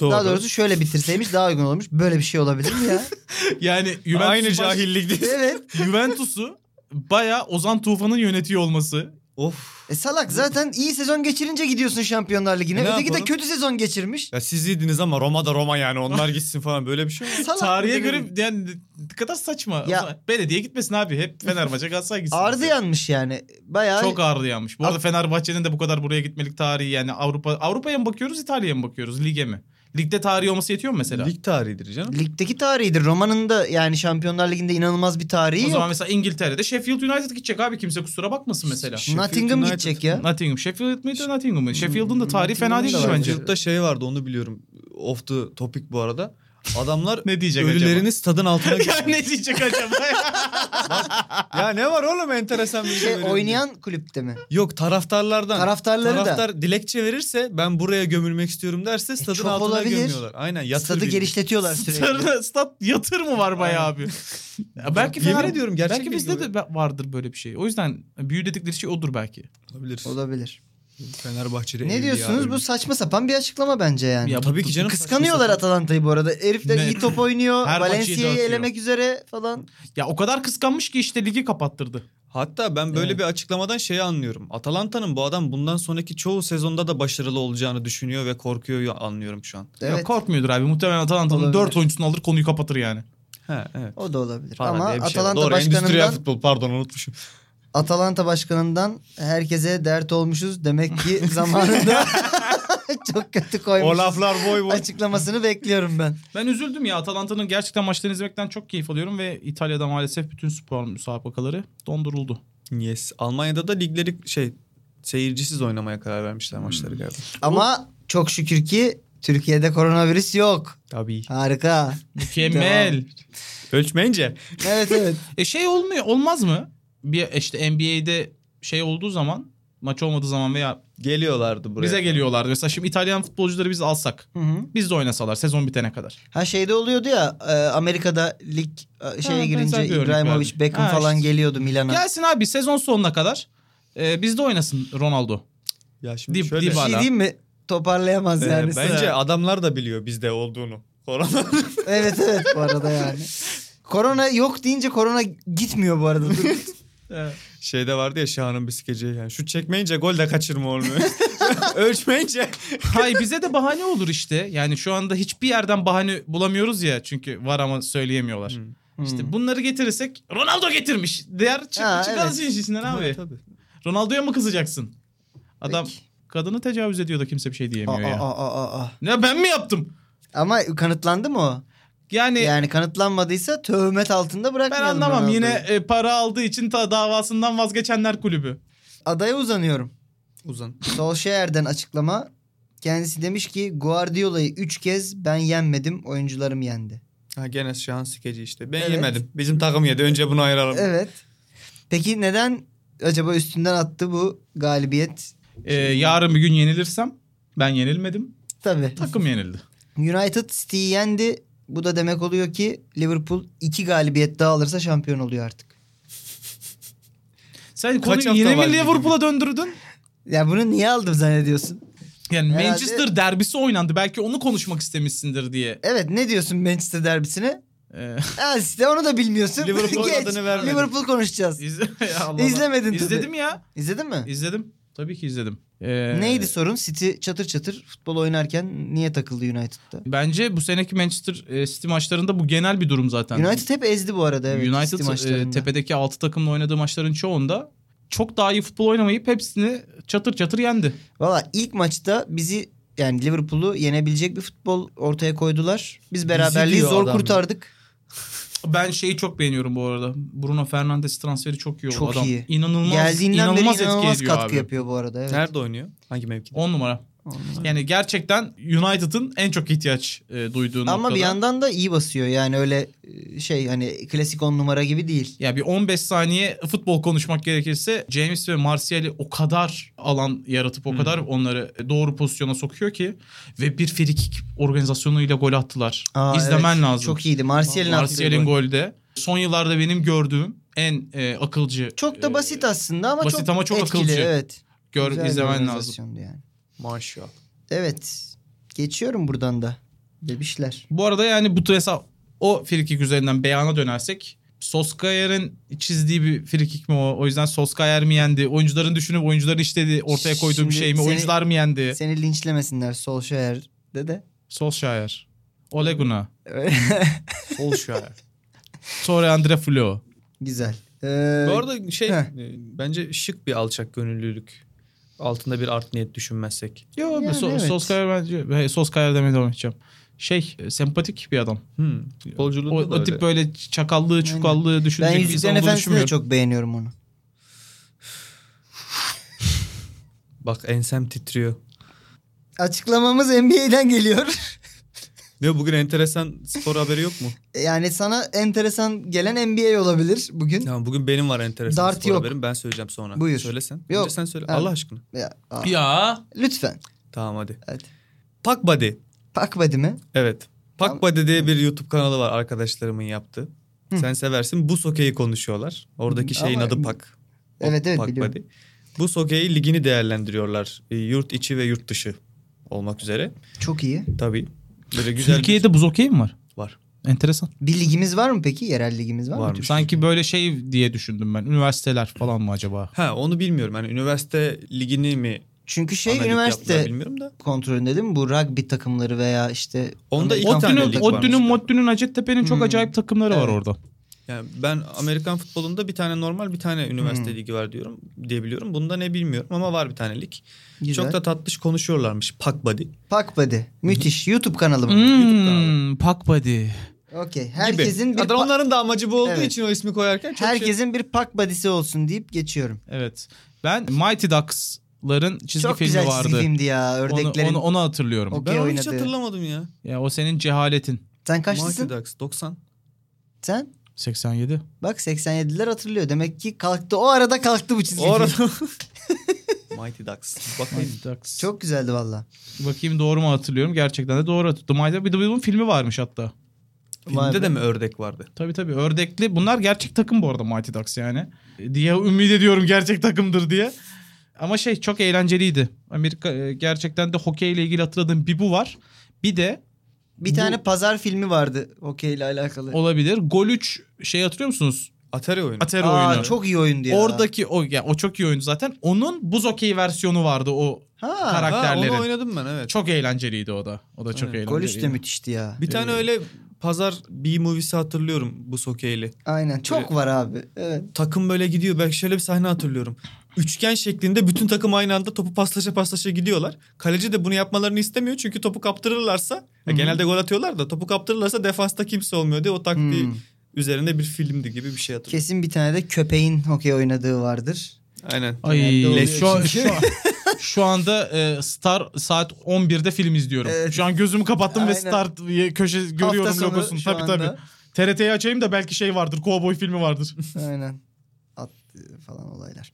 doğru. Daha doğrusu şöyle bitirseymiş daha uygun olmuş. Böyle bir şey olabilir mi ya? [LAUGHS] yani Juventus Aynı cahillik değil. evet. [LAUGHS] Juventus'u baya Ozan Tufan'ın yönetiyor olması. of. E salak zaten iyi sezon geçirince gidiyorsun Şampiyonlar Ligi'ne. E ne Öteki de yapalım? kötü sezon geçirmiş. Ya siz yediniz ama Roma'da Roma yani onlar gitsin falan böyle bir şey [LAUGHS] mi? Salak Tarihe bir de göre benim. yani ne kadar saçma. Ya- O zaman Belediye gitmesin abi. Hep Fenerbahçe Galatasaray gitsin. Ardı yanmış yani. Bayağı Çok ağırlı yanmış. Bu arada Fenerbahçe'nin de bu kadar buraya gitmelik tarihi yani Avrupa Avrupa'ya mı bakıyoruz, İtalya'ya mı bakıyoruz, lige mi? Ligde tarihi olması yetiyor mu mesela? Lig tarihidir canım. ligdeki tarihidir. Roma'nın da yani Şampiyonlar Ligi'nde inanılmaz bir tarihi o yok. zaman mesela İngiltere'de Sheffield United gidecek abi kimse kusura bakmasın mesela. Sheffield Nottingham United. gidecek ya. Nottingham. Sheffield miydi Nottingham mıydı? Sheffield'ın da tarihi fena Nottingham'ın değil da var. bence. Sheffield'da şey vardı onu biliyorum. Off the topic bu arada. [LAUGHS] Adamlar Ne diyecek ölülerini stadın [LAUGHS] altına... acaba? ya [LAUGHS] ne diyecek acaba? [LAUGHS] ya ne var oğlum enteresan bir şey. Şey, veriyorum. oynayan kulüpte mi? Yok taraftarlardan. Taraftarları da. Taraftar dilekçe verirse ben buraya gömülmek istiyorum derse stadın E, çok altına olabilir. gömüyorlar. Aynen yatır Stadı bildiğin. genişletiyorlar sürekli. [LAUGHS] Stat, stat yatır mı var bayağı abi? Ya belki Yemin Fener- ediyorum gerçek Belki bilgi bizde de be- vardır böyle bir şey. O yüzden büyü dedikleri şey odur belki. Olabilir. Olabilir. Fenerbahçe'de Ne evliya diyorsunuz? ölüm. Bu saçma sapan bir açıklama bence yani. Ya Tabii ki canım. E, Kıskanıyorlar Atalanta'yı bu arada. Herifler Ne? iyi top oynuyor. Her maçı Valencia'yı dağıtıyor. elemek üzere falan. Ya o kadar kıskanmış ki işte ligi kapattırdı. Hatta ben böyle Evet. bir açıklamadan şeyi anlıyorum. Atalanta'nın bu adam bundan sonraki çoğu sezonda da başarılı olacağını düşünüyor ve korkuyor anlıyorum şu an. Ya Evet. korkmuyordur abi. Muhtemelen Atalanta'nın Olabilir. 4 oyuncusunu alır konuyu kapatır yani. He evet. O da olabilir. Falan Ama diye bir şey. Atalanta Doğru, endüstriyel başkanından futbol pardon unutmuşum. Atalanta başkanından herkese dert olmuşuz demek ki zamanında çok kötü koymuş. O laflar boy boy. açıklamasını bekliyorum ben. Ben üzüldüm ya. Atalanta'nın gerçekten maçlarını izlemekten çok keyif alıyorum ve İtalya'da maalesef bütün spor müsabakaları donduruldu. [LAUGHS] Yes. Almanya'da da ligleri şey seyircisiz oynamaya karar vermişler Hmm. maçları galiba. Ama çok şükür ki Türkiye'de koronavirüs yok. Tabii. Harika. Mükemmel. Ölçmeyince. Evet evet. e şey olmuyor olmaz mı? Bir işte NBA'de şey olduğu zaman maç olmadığı zaman veya Geliyorlardı buraya. bize geliyorlardı. Mesela şimdi İtalyan futbolcuları biz alsak. Hı hı. Biz de oynasalar sezon bitene kadar. Ha şeyde oluyordu ya e, Amerika'da lig e, şeye Ha, girince benzer bir örnek İbrahimovic, verdim. Beckham Ha, falan işte. geliyordu Milan'a. Gelsin abi sezon sonuna kadar. E, biz de oynasın Ronaldo. Ya şimdi Dip- şöyle. bir şey Dybala. diyeyim mi? Toparlayamaz Ee, yani. bence adamlar da biliyor bizde olduğunu. Korona. [LAUGHS] Evet evet bu arada yani. Korona yok deyince korona gitmiyor bu arada. Dur. Hmm. [LAUGHS] Şeyde vardı ya Şahan'ın bir skeci. Yani şut çekmeyince gol de kaçırma [LAUGHS] olmuyor. Ölçmeyince. Hay bize de bahane olur işte. Yani şu anda hiçbir yerden bahane bulamıyoruz ya. Çünkü var ama söyleyemiyorlar. İşte bunları getirirsek Ronaldo getirmiş. Diğer çık Hmm. Ha, çıkarız işin içinden abi. Tabii. Ronaldo'ya mı kızacaksın? Adam Peki. kadını tecavüz ediyor da kimse bir şey Aa, diyemiyor ya. aa, aa, aa, aa. Ne ben mi yaptım? Ama kanıtlandı mı o? Yani, Yani kanıtlanmadıysa tövmet altında ben bırakmayalım. anlamam. Ronaldo'yu. Yine e, para aldığı için ta davasından vazgeçenler kulübü. Adaya uzanıyorum. Uzun. Solskjaer'den açıklama. Kendisi demiş ki Guardiola'yı 3 kez ben yenmedim oyuncularım yendi. Ha gene Şahan skeci işte. Ben Evet. yemedim. Bizim takım yedi. Önce bunu ayıralım. Evet. Peki neden acaba üstünden attı bu galibiyet? E, yarın bir gün yenilirsem ben yenilmedim. Tabii. Takım yenildi. United City'yi yendi. Bu da demek oluyor ki Liverpool 2 galibiyet daha alırsa şampiyon oluyor artık. Sen Kaç konuyu hafta yine var mi ligin? Liverpool'a döndürdün? Ya bunu niye aldım zannediyorsun? Yani Herhalde- Manchester derbisi oynandı. Belki onu konuşmak istemişsindir diye. Evet ne diyorsun Manchester derbisine? [LAUGHS] Ee, Ha işte onu da bilmiyorsun. [LAUGHS] Liverpool Geç. adını vermedim. Liverpool konuşacağız. izle- [LAUGHS] Ya Allah Allah. İzlemedin tabii. İzledim ya. İzledin mi? İzledim. Tabii ki izledim. Ee, Neydi sorun? City çatır çatır futbol oynarken niye takıldı United'da? Bence bu seneki Manchester e, City maçlarında bu genel bir durum zaten. United hep ezdi bu arada evet. United, City e, maçlarında. tepedeki 6 takımla oynadığı maçların çoğunda çok daha iyi futbol oynamayıp hepsini çatır çatır yendi. Valla ilk maçta bizi yani Liverpool'u yenebilecek bir futbol ortaya koydular. Biz beraberliği diyor zor adam. kurtardık. Ben şeyi çok beğeniyorum bu arada. Bruno Fernandes transferi çok iyi oldu. Çok Adam iyi. İnanılmaz, Geldiğinden inanılmaz beri etki inanılmaz ediyor katkı abi. yapıyor bu arada. Evet. Nerede oynuyor? Hangi mevkide? 10 numara. Yani gerçekten United'ın en çok ihtiyaç e, duyduğu Ama noktada. bir yandan da iyi basıyor. Yani öyle e, şey hani klasik on numara gibi değil. Ya bir 15 saniye futbol konuşmak gerekirse James ve Martial'i o kadar alan yaratıp Hmm. o kadar onları doğru pozisyona sokuyor ki ve bir frikik organizasyonuyla gol attılar. Aa, İzlemen evet. lazım. Çok iyiydi. Martial'in attığı Martial'in gol. golde. Son yıllarda benim gördüğüm en e, akılcı. Çok da e, basit aslında ama basit çok, ama çok etkili. akılcı. Evet. gör Güzel bir izlemen lazım. organizasyondu Yani. Maşallah. Evet. Geçiyorum buradan da. Bebişler. Bu arada yani bu mesela o frikik üzerinden beyana dönersek Soskayer'in çizdiği bir frikik mi o? O yüzden Soskayer mi yendi? Oyuncuların düşünüp oyuncuların işlediği ortaya koyduğu Şimdi bir şey mi? seni- Oyuncular mı yendi? Seni linçlemesinler Solskjaer'de de. [LAUGHS] Solskjaer. Ole Gunnar. Sol [LAUGHS] şu an. Sonra Andre Flo. Güzel. Ee, Bu arada şey Heh. e, bence şık bir alçak gönüllülük. Altında bir art niyet düşünmezsek. Yo Yani yani so- evet. Solskjaer bence hey, Solskjaer demeye devam edeceğim. Şey e, sempatik bir adam. Hmm. O, Futbolculuğunda da o öyle. tip böyle çakallığı çukallığı ben düşünecek bir insan Yüzüklerin olduğunu Efendisi'ni de düşünmüyorum. çok beğeniyorum onu. Bak ensem titriyor. Açıklamamız NBA'den geliyor. Ne bugün enteresan spor haberi yok mu? Yani sana enteresan gelen NBA olabilir bugün. Ya bugün benim var enteresan Dart spor yok. haberim. Ben söyleyeceğim sonra. Buyur. Söylesen. Yok. Önce sen söyle. Evet. Allah aşkına. Ya, aa, Ya Lütfen. Tamam hadi. Hadi. Puck Buddy. Pakbadi mi? Evet. Puck Tamam. Buddy diye bir YouTube kanalı var arkadaşlarımın yaptığı. Hı. Sen seversin. Bu sokeyi konuşuyorlar. Oradaki Ama- şeyin adı Pak. Evet, evet, biliyorum. Bu sokeyi ligini değerlendiriyorlar. E, Yurt içi ve yurt dışı olmak üzere. Çok iyi. Tabii. Böyle güzel Türkiye'de buz okeyi mi var? Var. Enteresan. Bir ligimiz var mı peki? Yerel ligimiz var, mı? Var. Varmış. Sanki böyle şey diye düşündüm ben. Üniversiteler falan mı acaba? bir- Ha onu bilmiyorum. Yani üniversite ligini mi Çünkü şey analiz yaptılar üniversite bilmiyorum da. kontrolünde değil mi? Bu rugby takımları veya işte... Onda Amerikan iki tane Ottu'nun, lig futbolu. var. Ottu'nun, Mottu'nun, Hacettepe'nin çok Hmm. acayip takımları var Evet. orada. Yani ben Amerikan futbolunda bir tane normal bir tane üniversite Hmm. ligi var diyorum diyebiliyorum. Bunda ne bilmiyorum ama var bir tane lig. Güzel. Çok da tatlış konuşuyorlarmış Puck Buddy. Pakbadi. Müthiş. YouTube kanalı mı? YouTube kanalı. Hmm, Puck Buddy. Okey. gibi. Herkesin bir Adam pa- onların da amacı bu olduğu Evet. için o ismi koyarken çok şey- herkesin bir pak badisi olsun deyip geçiyorum. Evet. Ben Mighty Ducks'ların çizgi Çok filmi güzel vardı. çizgi filmdi ya. Onu, Ördeklerin. onu, onu hatırlıyorum. O- Ben onu hiç oynadı. hatırlamadım ya. Ya o senin cehaletin. Sen kaçlısın? Mighty Ducks 90. Sen? 87. Bak 87'ler hatırlıyor. Demek ki kalktı. O arada kalktı bu çizgi O film. arada Mighty Ducks. Bakayım. Mighty Ducks. Çok güzeldi valla. Bakayım doğru mu hatırlıyorum? Gerçekten de doğru hatırladım. Mighty bir de bunun filmi varmış hatta. Vay Filmde be. de mi ördek vardı? Tabii tabii ördekli. Bunlar gerçek takım bu arada Mighty Ducks yani. E, Diye ümit ediyorum gerçek takımdır diye. Ama şey çok eğlenceliydi. Amerika e, gerçekten de hokeyle ilgili hatırladığım bir bu var. Bir de Bir Bu- tane pazar filmi vardı hokeyle alakalı. olabilir. Gol 3 şey hatırlıyor musunuz? Atari oyunu. Atari Aa, oyunu. çok iyi oyundu ya. Oradaki o ya o çok iyi oyundu zaten. Onun buz hokeyi versiyonu vardı o. ha, karakter- ha, karakterlerin. onu oynadım ben evet. Çok eğlenceliydi o da. O da çok Aynen. eğlenceliydi. Gol üç de müthişti ya. Bir tane Ee, öyle pazar B-movie'si hatırlıyorum bu sokeyli. Aynen. Ee, Çok var abi. Evet. Takım böyle gidiyor. Ben şöyle bir sahne hatırlıyorum. Üçgen şeklinde bütün takım aynı anda topu paslaşa paslaşa gidiyorlar. Kaleci de bunu yapmalarını istemiyor çünkü topu kaptırırlarsa ya genelde gol atıyorlar da topu kaptırırlarsa defansta kimse olmuyor diye o taktiği Hmm. üzerinde bir filmdi gibi bir şey hatırlıyorum. Kesin bir tane de köpeğin hokey oynadığı vardır. Aynen. Ay Genelde şu, oluyor an- şu, an- [LAUGHS] şu anda e, Star saat 11'de film izliyorum. Evet. Şu an gözümü kapattım ve Aynen. Star diye köşe Hafta görüyorum sonu logosunu. şu Tabii anda. tabii. TRT'yi açayım da belki şey vardır. Cowboy filmi vardır. [LAUGHS] Aynen. At e, falan olaylar.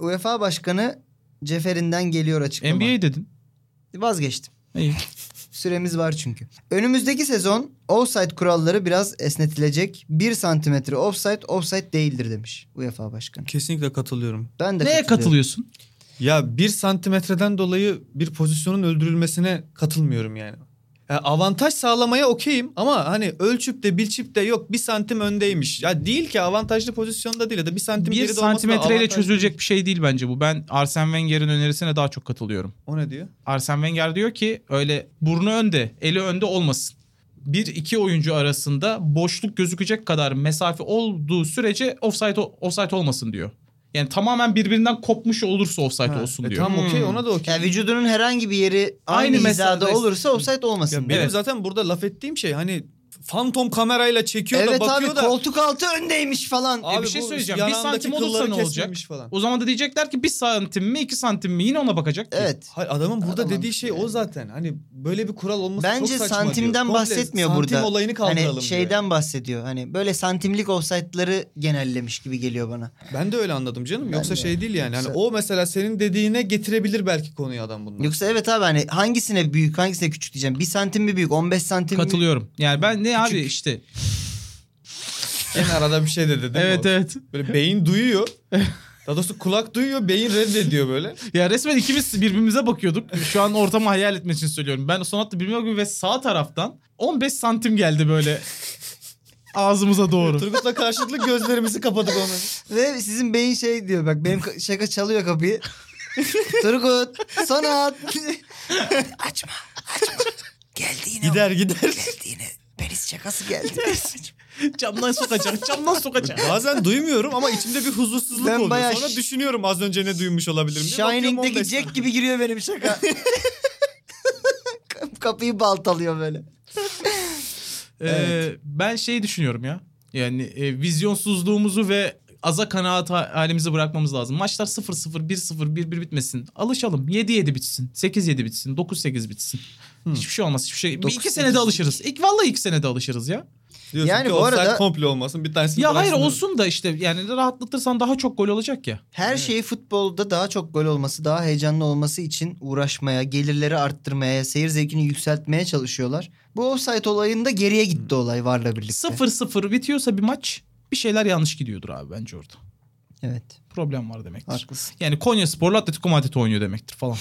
UEFA Başkanı Ceferinden geliyor açıklama. NBA dedin. Vazgeçtim. İyi. [LAUGHS] Süremiz var çünkü. Önümüzdeki sezon offside kuralları biraz esnetilecek. 1 santimetre offside, offside değildir demiş UEFA Başkanı. Kesinlikle katılıyorum. Ben de Neye katılıyorum. katılıyorsun? Ya bir santimetreden dolayı bir pozisyonun öldürülmesine katılmıyorum yani. Ya avantaj sağlamaya okeyim ama hani ölçüp de bilçip de yok bir santim öndeymiş. Ya değil ki avantajlı pozisyonda değil ya da bir santim Bir geride olması da santimetreyle avantajlı. çözülecek bir şey değil bence bu. Ben Arsene Wenger'in önerisine daha çok katılıyorum. O ne diyor? Arsene Wenger diyor ki öyle burnu önde, eli önde olmasın. Bir iki oyuncu arasında boşluk gözükecek kadar mesafe olduğu sürece offside offside olmasın diyor. Yani tamamen birbirinden kopmuş olursa offside Ha, olsun e diyor. Tamam okey ona da okey. Yani vücudunun herhangi bir yeri aynı, Aynı hizada mesafede- olursa offside olmasın. Ya benim diyor. zaten burada laf ettiğim şey hani fantom kamerayla çekiyor Evet da bakıyor abi da. koltuk altı öndeymiş falan. Abi, bir şey bu söyleyeceğim. Bir yanağındaki santim olursa kılları ne olacak? kesmemiş Falan. O zaman da diyecekler ki bir santim mi iki santim mi yine ona bakacak ki. Evet. Hayır adamın burada Adam dediği şey o yani. zaten. Hani böyle bir kural olması çok Bence saçma diyor. santimden Komple bahsetmiyor santim burada. olayını kaldıralım Hani şeyden bahsediyor. Hani böyle santimlik offside'ları genellemiş gibi geliyor bana. Ben de öyle anladım canım. Yoksa de. şey değil yani. Hani Yoksa- o mesela senin dediğine getirebilir belki konuyu adam bundan. Yoksa evet abi hani hangisine büyük hangisine küçük diyeceğim. Bir santim mi büyük 15 santim mi? Katılıyorum. Yani ben ne abi işte. En arada bir şey de dedi. değil mi Evet o? evet. Böyle beyin duyuyor. Daha doğrusu kulak duyuyor, beyin reddediyor [LAUGHS] böyle. Ya resmen ikimiz birbirimize bakıyorduk. Şu an ortamı hayal etmek için söylüyorum. Ben son hattı bilmiyorum gibi ve sağ taraftan 15 santim [LAUGHS] geldi böyle ağzımıza doğru. Turgut'la karşılıklı gözlerimizi kapadık onu. Ve sizin beyin şey diyor bak benim ka- şaka çalıyor kapıyı. [LAUGHS] Turgut sana at. [LAUGHS] açma açma. Geldi yine. Gider gider. Geldi yine. Penis şakası geldi. Camdan sokacak, camdan sokacak. [LAUGHS] Bazen duymuyorum ama içimde bir huzursuzluk Ben oluyor. bayağı Sonra ş- düşünüyorum az önce ne duymuş olabilirim diye. Bakıyorum 15 Shining'deki Jack gibi giriyor benim şaka. Kapıyı baltalıyor böyle. Ee, ben şey düşünüyorum ya. Yani e, vizyonsuzluğumuzu ve aza kanaat ha- halimizi bırakmamız lazım. Maçlar 0-0, 1-0, 1-1 bitmesin. Alışalım. 7-7 bitsin. 8-7 bitsin. 9-8 bitsin. Hiçbir şey olmaz. Hiçbir şey. Bir iki 9-8. senede alışırız. İlk, vallahi iki senede alışırız ya. Diyorsun Yani ki bu offside arada- komple olmasın bir tanesini Ya hayır bıraksınlar. olsun da işte yani rahatlatırsan daha çok gol olacak ya. Her şeyi futbolda daha çok gol olması, daha heyecanlı olması için uğraşmaya, gelirleri arttırmaya, seyir zevkini yükseltmeye çalışıyorlar. Bu offside olayında geriye gitti olay varla birlikte. 0-0 bitiyorsa bir maç bir şeyler yanlış gidiyordur abi bence orada. Evet. Problem var demektir. Haklısın. Yani Konya Spor'la Atletico Madrid oynuyor demektir falan.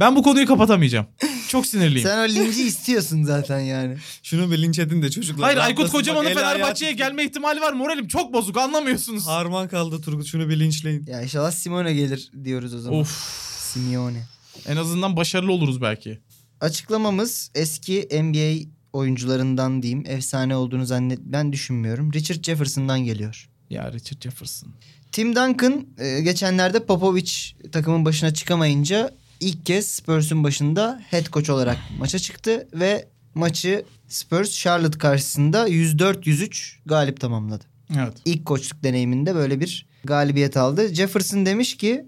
ben bu konuyu kapatamayacağım. Çok sinirliyim. Sen o linci istiyorsun zaten yani. Şunu bir linç edin de çocuklar. Hayır Aykut rahatlasın. Bak, Kocaman'ın el Fenerbahçe'ye ayağı- gelme ihtimali var. Moralim çok bozuk anlamıyorsunuz. Harman kaldı Turgut şunu bir linçleyin. Ya inşallah Simone gelir diyoruz o zaman. Of. Simeone. En azından başarılı oluruz belki. Açıklamamız eski NBA oyuncularından diyeyim efsane olduğunu zannet ben düşünmüyorum. Richard Jefferson'dan geliyor. Ya Richard Jefferson. Tim Duncan e, geçenlerde Popovic takımın başına çıkamayınca ilk kez Spurs'un başında head coach olarak maça çıktı ve maçı Spurs Charlotte karşısında 104-103 galip tamamladı. Evet. İlk koçluk deneyiminde böyle bir galibiyet aldı. Jefferson demiş ki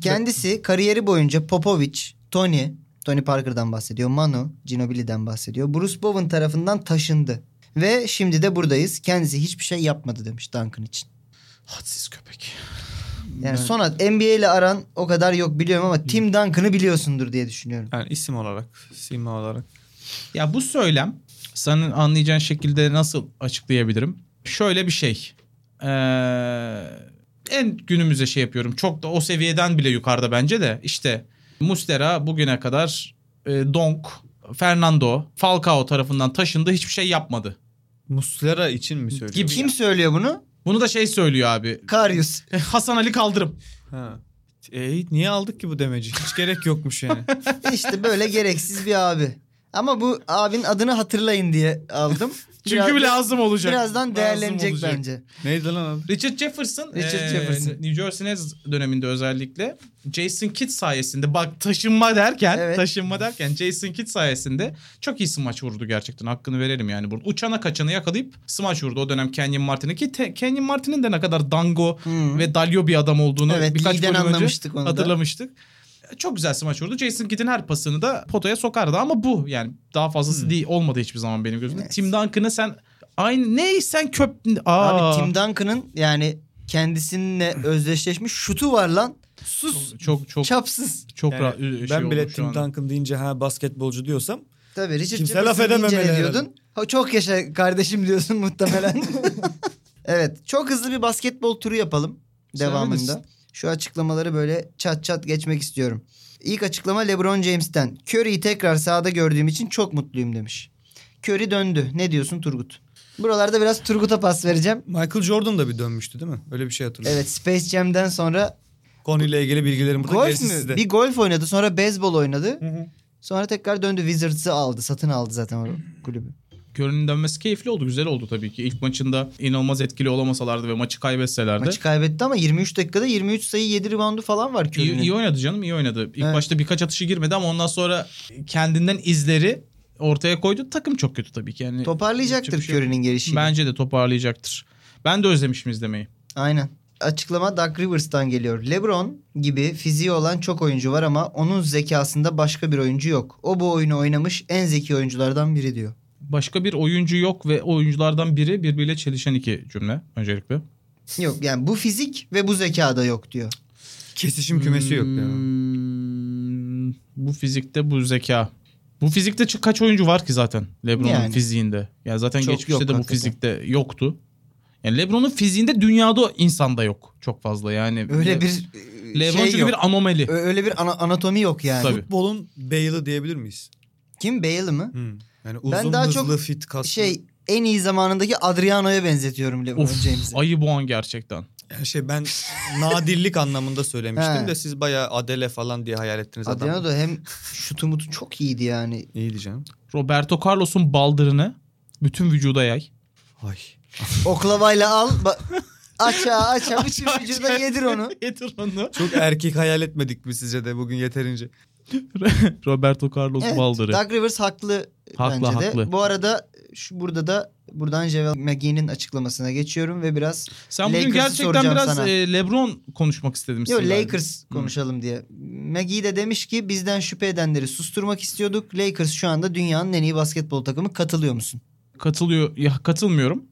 kendisi kariyeri boyunca Popovic, Tony, Tony Parker'dan bahsediyor, Manu, Ginobili'den bahsediyor. Bruce Bowen tarafından taşındı. Ve şimdi de buradayız. Kendisi hiçbir şey yapmadı demiş Duncan için. Hadsiz köpek. Yani Sonat NBA ile aran o kadar yok biliyorum ama Tim Duncan'ı biliyorsundur diye düşünüyorum. Yani isim olarak, sima olarak. Ya bu söylem senin anlayacağın şekilde nasıl açıklayabilirim? Şöyle bir şey. Ee, en günümüze şey yapıyorum. Çok da o seviyeden bile yukarıda bence de. İşte Mustera bugüne kadar e, Donk, Fernando, Falcao tarafından taşındı. Hiçbir şey yapmadı. Muslera için mi söylüyorsun? Gibi. Kim söylüyor bunu? Bunu da şey söylüyor abi. [LAUGHS] Karius. Hasan Ali Kaldırım. Ha. E, niye aldık ki bu demeci? Hiç gerek yokmuş [LAUGHS] yani. işte böyle gereksiz bir abi. Ama bu abinin adını hatırlayın diye aldım. [LAUGHS] Çünkü Biraz- lazım olacak. birazdan Lazım değerlenecek olacak. bence. Neydi lan adı? Richard Jefferson, Richard eee, Jefferson. New Jersey Nets döneminde özellikle Jason Kidd sayesinde bak taşınma derken Evet. taşınma derken Jason Kidd sayesinde çok iyi smaç vurdu gerçekten hakkını verelim yani burada. Uçana kaçanı yakalayıp smaç vurdu o dönem Kenyon Martin'i ki te- Kenyon Martin'in de ne kadar dango Hı. ve dalyo bir adam olduğunu Evet, birkaç ligden bölüm önce anlamıştık onu da. hatırlamıştık. Çok güzel smaç vurdu. Jason Kidd'in her pasını da potaya sokardı ama bu yani daha fazlası değil olmadı hiçbir zaman benim gözümde. Hmm. Evet. Tim Duncan'ı sen aynı ney sen köp Aa. Abi Tim Duncan'ın yani kendisininle özdeşleşmiş şutu var lan. Sus. çok çok Çapsız. Çok Yani rahat şey ben bile oldu şu Tim anda. Duncan deyince ha basketbolcu diyorsam Tabii Richard Kimse Jefferson'ı laf edememeli ince herhalde. ediyordun. Ha, çok yaşa kardeşim [LAUGHS] diyorsun muhtemelen. evet. Çok hızlı bir basketbol turu yapalım devamında. Severiz. Şu açıklamaları böyle çat çat geçmek istiyorum. İlk açıklama LeBron James'ten. Curry'i tekrar sahada gördüğüm için çok mutluyum demiş. Curry döndü. Ne diyorsun Turgut? Buralarda biraz Turgut'a pas vereceğim. Michael Jordan da bir dönmüştü değil mi? Öyle bir şey hatırlıyorum. Evet Space Jam'den sonra Konuyla ilgili bilgilerim burada golf gerisi mü? sizde. Bir golf oynadı sonra beyzbol oynadı. hı. Sonra tekrar döndü Wizards'ı aldı. Satın aldı [CLEARS THROAT] zaten o kulübü. Curry'nin dönmesi keyifli oldu. Güzel oldu tabii ki. İlk maçında inanılmaz etkili olamasalardı ve maçı kaybetselerdi. Maçı kaybetti ama 23 dakikada 23 sayı 7 reboundu falan var iyi, Curry'nin. iyi oynadı canım. iyi oynadı. İlk Evet. başta birkaç atışı girmedi ama ondan sonra kendinden izleri ortaya koydu. Takım çok kötü tabii ki. Yani Toparlayacaktır Yapacak bir şey yok. Curry'nin gelişiyle. Bence de toparlayacaktır. Ben de özlemişim izlemeyi. Aynen. Açıklama Doug Rivers'tan geliyor. LeBron gibi fiziği olan çok oyuncu var ama onun zekasında başka bir oyuncu yok. O bu oyunu oynamış en zeki oyunculardan biri diyor. Başka bir oyuncu yok ve oyunculardan biri birbiriyle çelişen iki cümle öncelikle. Yok yani bu fizik ve bu zekada yok diyor. Kesişim kümesi yok ya. Hmm, Bu fizikte bu zeka. Bu fizikte çı- kaç oyuncu var ki zaten LeBron'un Yani. fiziğinde? Ya zaten Çok geçmişte yok de bu hakikaten. fizikte yoktu. Yani LeBron'un fiziğinde dünyada insanda yok çok fazla yani. Öyle Le- bir e, LeBron şey çünkü yok. bir anomali. Ö- Öyle bir ana- anatomi yok yani. Tabii. Futbolun Bale'ı diyebilir miyiz? Kim Bale mi? Hmm. Yani uzun daha hızlı çok fit kaslı. Şey, Şey en iyi zamanındaki Adriano'ya benzetiyorum LeBron Of, James'i. ayı bu an gerçekten. şey ben nadirlik anlamında He. söylemiştim de siz bayağı Adele falan diye hayal ettiniz Adriano adamı. da hem şutu mutu çok iyiydi yani. İyi diyeceğim. Roberto Carlos'un baldırını bütün vücuda yay. Ay. Oklavayla al. [LAUGHS] ba- aça aça bütün Aça, vücuda aça. [LAUGHS] yedir onu. Getir onu. Çok erkek hayal etmedik mi sizce de bugün yeterince? Roberto Carlos Evet, Baldır'ı. Doug Rivers haklı, Haklı, bence de. haklı. Bu arada şu burada da buradan Javel McGee'nin açıklamasına geçiyorum ve biraz Sen bugün Lakers'ı gerçekten soracağım biraz sana. e, LeBron konuşmak istedim. Yo, sizlerle. Lakers konuşalım diye. McGee de demiş ki bizden şüphe edenleri susturmak istiyorduk. Lakers şu anda dünyanın en iyi basketbol takımı. Katılıyor musun? Katılıyor, ya, katılmıyorum.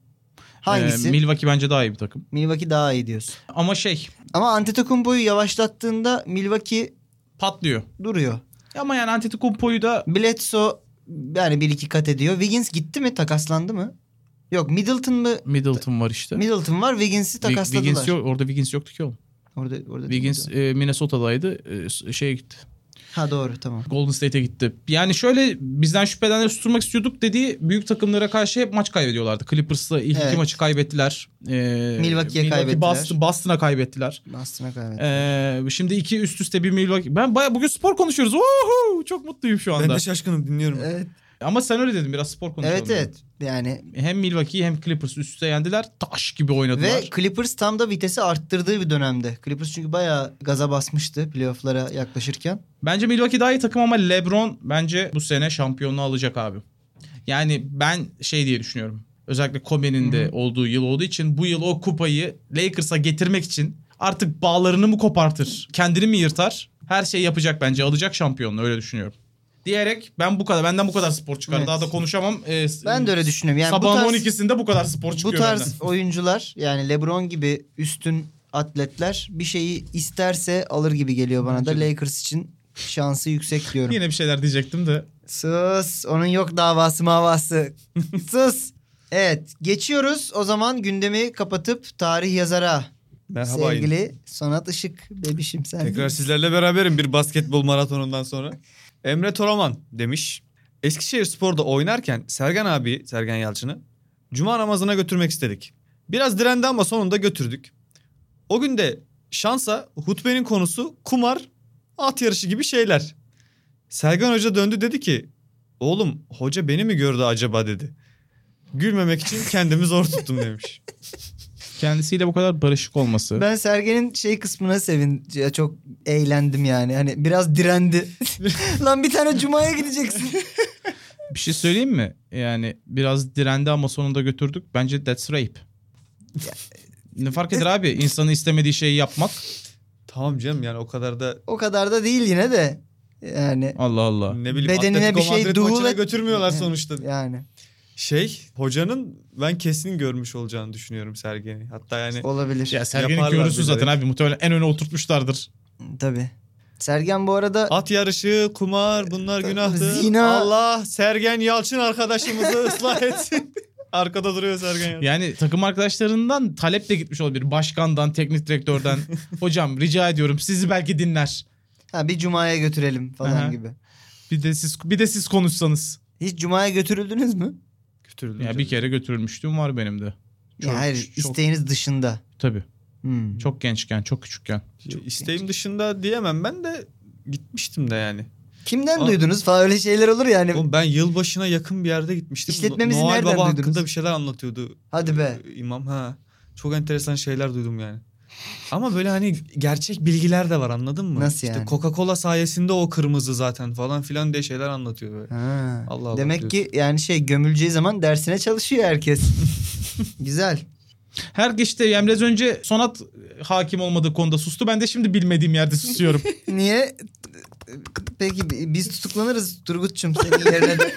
Hangisi? Ee, Milwaukee bence daha iyi bir takım. Milwaukee daha iyi diyorsun. Ama şey Ama Antetokounmpo'yu yavaşlattığında Milwaukee patlıyor. duruyor. Ama yani Antetokounmpo'yu da Bledsoe yani bir iki kat ediyor. Wiggins gitti mi? Takaslandı mı? Yok Middleton mı? Middleton var işte. Middleton var. Wiggins'i Wi- takasladılar. Wiggins yok, orada Wiggins yoktu ki oğlum. Orada, orada Wiggins değil e, Minnesota'daydı. E, s- şeye gitti. miydi? Ha doğru tamam. Golden State'e gitti. Yani şöyle bizden şüphelenleri susturmak istiyorduk dediği büyük takımlara karşı hep maç kaybediyorlardı. Clippers'la ilk Evet. iki maçı kaybettiler. Ee, Milwaukee kaybettiler. Boston- Boston'a kaybettiler. Bastına kaybetti. Ee, şimdi iki üst üste bir Milwaukee. Ben baya bugün spor konuşuyoruz. Woohoo! Çok mutluyum şu anda. Ben de şaşkınım dinliyorum. Evet Ama sen öyle dedin biraz spor konuşalım. evet. dedim. evet. Yani Hem Milwaukee hem Clippers üst üste yendiler. Taş gibi oynadılar. Ve Clippers tam da vitesi arttırdığı bir dönemde. Clippers çünkü bayağı gaza basmıştı playoff'lara yaklaşırken. Bence Milwaukee daha iyi takım ama LeBron bence bu sene şampiyonluğu alacak abi. Yani ben şey diye düşünüyorum. Özellikle Kobe'nin de olduğu yıl olduğu için bu yıl o kupayı Lakers'a getirmek için artık bağlarını mı kopartır? Kendini mi yırtar? Her şeyi yapacak bence. Alacak şampiyonluğu öyle düşünüyorum. Diyerek ben bu kadar benden bu kadar spor çıkar. Evet. Daha da konuşamam. Ee, Ben de öyle düşünüyorum. Yani sabahın bu tarz, 12'sinde bu kadar spor bu çıkıyor tarz benden. oyuncular yani LeBron gibi üstün atletler bir şeyi isterse alır gibi geliyor bana da. Bence de. Lakers için şansı yüksek diyorum. Yine bir şeyler diyecektim de. Sus. Onun yok davası [LAUGHS] mavası. Sus. Evet. Geçiyoruz. O zaman gündemi kapatıp tarih yazara. Merhaba. Sevgili Sonat Işık bebişim sen. Tekrar sizlerle beraberim bir basketbol maratonundan sonra. Emre Toraman demiş. Eskişehir Spor'da oynarken Sergen abi, Sergen Yalçın'ı cuma namazına götürmek istedik. Biraz direndi ama sonunda götürdük. O gün de şansa hutbenin konusu kumar, at yarışı gibi şeyler. Sergen Hoca döndü dedi ki oğlum hoca beni mi gördü acaba dedi. Gülmemek için kendimi zor tuttum demiş. [LAUGHS] Kendisiyle bu kadar barışık [LAUGHS] olması. Ben Sergen'in şey kısmına sevince çok eğlendim yani. Hani biraz direndi. [LAUGHS] [LAUGHS] Lan bir tane cumaya gideceksin. Bir şey söyleyeyim mi? Yani biraz direndi ama sonunda götürdük. Bence that's rape. ne fark eder abi? İnsanın istemediği şeyi yapmak. Tamam canım yani o kadar da o kadar da değil yine de. Yani Allah Allah. ne bileyim Bedenine Atletico bir şey Madrid duhul maçına et- götürmüyorlar Evet. sonuçta. yani Şey hocanın ben kesin görmüş olacağını düşünüyorum Sergen'i. Hatta yani olabilir. Hani Ya Sergen'in Yaparlar görüsü bize. zaten abi. Muhtemelen en öne oturtmuşlardır. Tabii. Sergen bu arada at yarışı, kumar bunlar Tabii, günahtır. zina. Allah Sergen Yalçın arkadaşımızı ıslah etsin. [LAUGHS] Arkada duruyor Sergen Yalçın. Yani takım arkadaşlarından talep de gitmiş olabilir. Başkandan, teknik direktörden. Hocam rica ediyorum sizi belki dinler. ha, bir cumaya götürelim falan Aha. gibi. Bir de siz bir de siz konuşsanız. Hiç cumaya götürüldünüz mü? Götürüldü Ya canım. bir kere götürülmüştüm var benim de. Çok- ya hayır çok- isteğiniz dışında. Tabii. Hmm. Çok gençken, çok küçükken. Çok İsteğim dışında diyemem ben de gitmiştim de yani. Kimden Aa. duydunuz falan öyle şeyler olur hani, yani. Oğlum ben yılbaşına yakın bir yerde gitmiştim. İşletmemizi Noel nereden Baba duydunuz? hakkında bir şeyler anlatıyordu. Hadi be. Ee, İmam ha. Çok enteresan şeyler duydum yani. Ama böyle hani gerçek bilgiler de var anladın mı? Nasıl yani? İşte Coca-Cola sayesinde o kırmızı zaten falan filan diye şeyler anlatıyor böyle. Ha. Allah Allah Demek ki yani şey gömüleceği zaman dersine çalışıyor herkes. Güzel. Her işte yani biraz önce Sonat e, hakim olmadığı konuda sustu. Ben de şimdi bilmediğim yerde susuyorum. Niye? Peki bi- biz tutuklanırız Turgut'cum senin yerine de.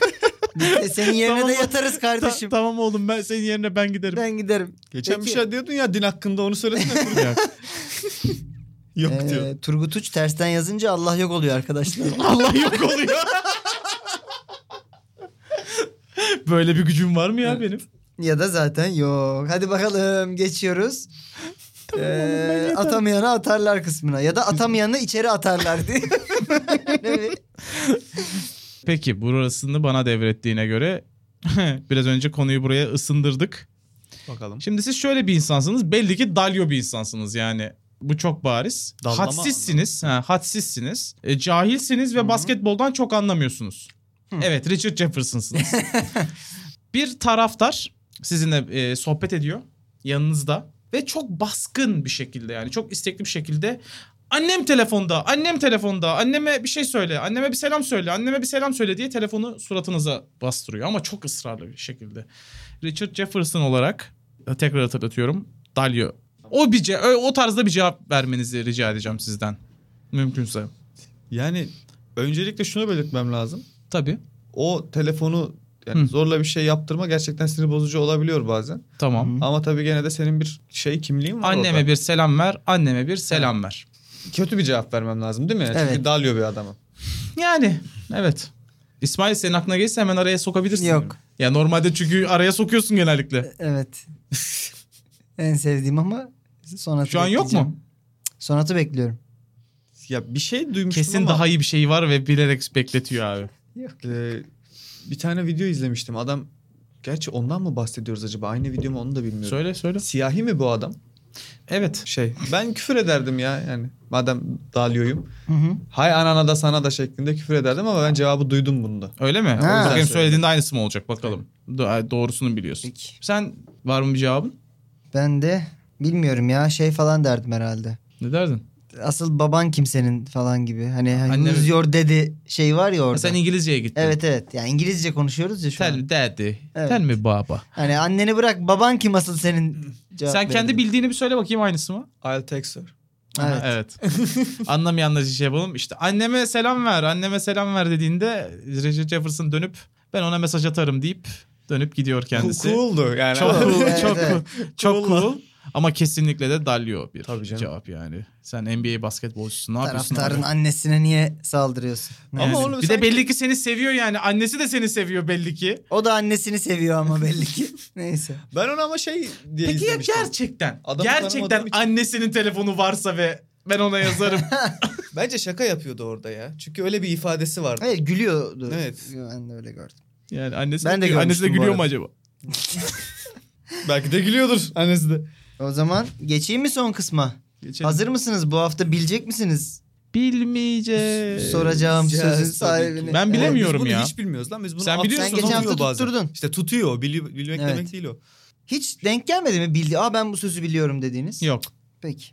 Biz de senin yerine de Tamam. yatarız kardeşim. Ta- tamam oğlum ben senin yerine ben giderim. Ben giderim. Geçen Peki. bir şey diyordun ya din hakkında onu söyledin [LAUGHS] mi? Ya, Yok Ee, diyor. Turgut Uç tersten yazınca Allah yok oluyor arkadaşlar. Allah yok oluyor. Böyle bir gücüm var mı ya benim? ya da zaten yok. Hadi bakalım geçiyoruz. Ee, atamayanı atarlar kısmına ya da atamayanı içeri atarlar [LAUGHS] diye. Böyle bir- Peki burasını bana devrettiğine göre [LAUGHS] biraz önce konuyu buraya ısındırdık. Bakalım. Şimdi siz şöyle bir insansınız. Belli ki dalyo bir insansınız yani. Bu çok bariz. Dallama hadsizsiniz. Ha, hadsizsiniz. E, cahilsiniz ve basketboldan çok anlamıyorsunuz. Evet Richard Jefferson'sınız. bir taraftar sizinle e, sohbet ediyor yanınızda ve çok baskın bir şekilde yani çok istekli bir şekilde Annem telefonda, annem telefonda, anneme bir şey söyle, anneme bir selam söyle, anneme bir selam söyle diye telefonu suratınıza bastırıyor. Ama çok ısrarlı bir şekilde. Richard Jefferson olarak e, tekrar hatırlatıyorum. Dalio. O bir ce- ö- o tarzda bir cevap vermenizi rica edeceğim sizden. Mümkünse. Yani öncelikle şunu belirtmem lazım. Tabii. O telefonu yani Hı. zorla bir şey yaptırma gerçekten sinir bozucu olabiliyor bazen. Tamam. Ama tabii gene de senin bir şey kimliğin var Anneme orada. bir selam ver, anneme bir selam ver. Kötü bir cevap vermem lazım değil mi? Çünkü Evet. dalıyor bir adamı. Yani evet. İsmail senin aklına gelirse hemen araya sokabilirsin. Yok. Ee, Ya normalde çünkü araya sokuyorsun genellikle. Evet. en sevdiğim ama sonatı Şu an yok bekleyeceğim. mu? Sonatı bekliyorum. Ya bir şey duymuştum Kesin ama- daha iyi bir şey var ve bilerek bekletiyor abi. Ee, bir tane video izlemiştim. Adam gerçi ondan mı bahsediyoruz acaba? Aynı video mu onu da bilmiyorum. Söyle söyle. Siyahi mi bu adam? Evet. Şey ben küfür ederdim ya yani. Madem dalyoyum. Hı hı. Hay anana da sana da şeklinde küfür ederdim ama ben cevabı duydum bunda. Öyle mi? Ha. O yüzden Güzel söylediğinde aynısı mı olacak bakalım. Do- Doğrusunu biliyorsun. Peki. Sen var mı bir cevabın? Ben de bilmiyorum ya şey falan derdim herhalde. Ne derdin? Asıl baban kimsenin falan gibi. Hani Annem- who's your daddy şey var ya orada. Sen İngilizceye gittin. Evet evet. Yani İngilizce konuşuyoruz ya şu an. Tell daddy. Evet. Tell me baba. Hani anneni bırak baban kim asıl senin cevap Sen kendi verebilir. bildiğini bir söyle bakayım aynısı mı? I'll text her. Evet. Evet. Anlamayanlar için şey yapalım. İşte anneme selam ver, anneme selam ver dediğinde Richard Jefferson dönüp ben ona mesaj atarım deyip dönüp gidiyor kendisi. Cool'du yani. [LAUGHS] Çok cool, Evet, çok evet. cool, çok cool. Ama kesinlikle de dalıyor bir Tabii canım. cevap yani. Sen NBA basketbolcusun ne yapıyorsun? Taraftarın abi? annesine niye saldırıyorsun? Ama Yani. Yani. onu bir sen- de belli ki seni seviyor yani. Annesi de seni seviyor belli ki. O da annesini seviyor ama belli ki. [LAUGHS] Neyse. Ben onu ama şey diye Peki ya izlemiştim. gerçekten? Adamı gerçekten tanımadığım için- annesinin telefonu varsa ve ben [LAUGHS] ona yazarım. Bence şaka yapıyordu orada ya. Çünkü öyle bir ifadesi vardı. Hayır gülüyordu. Evet. Ben de öyle gördüm. yani annesi, Ben de de, annesi de görmüştüm bu gülüyor mu arada. acaba? Belki de gülüyordur annesi de. O zaman geçeyim mi son kısma? Geçelim. Hazır mısınız? Bu hafta bilecek misiniz? Bilmeyeceğiz. Soracağım Ya, sözün tabii ki. sahibini. Ben Evet. bilemiyorum Biz bunu ya. hiç bilmiyoruz lan. Biz bunu Sen alttan biliyorsun, geçen tutuyor hafta bazen. tutturdun. İşte tutuyor. Bili- bilmek Evet. demek değil o. Hiç denk gelmedi mi bildi? Aa ben bu sözü biliyorum dediğiniz? Yok. Peki.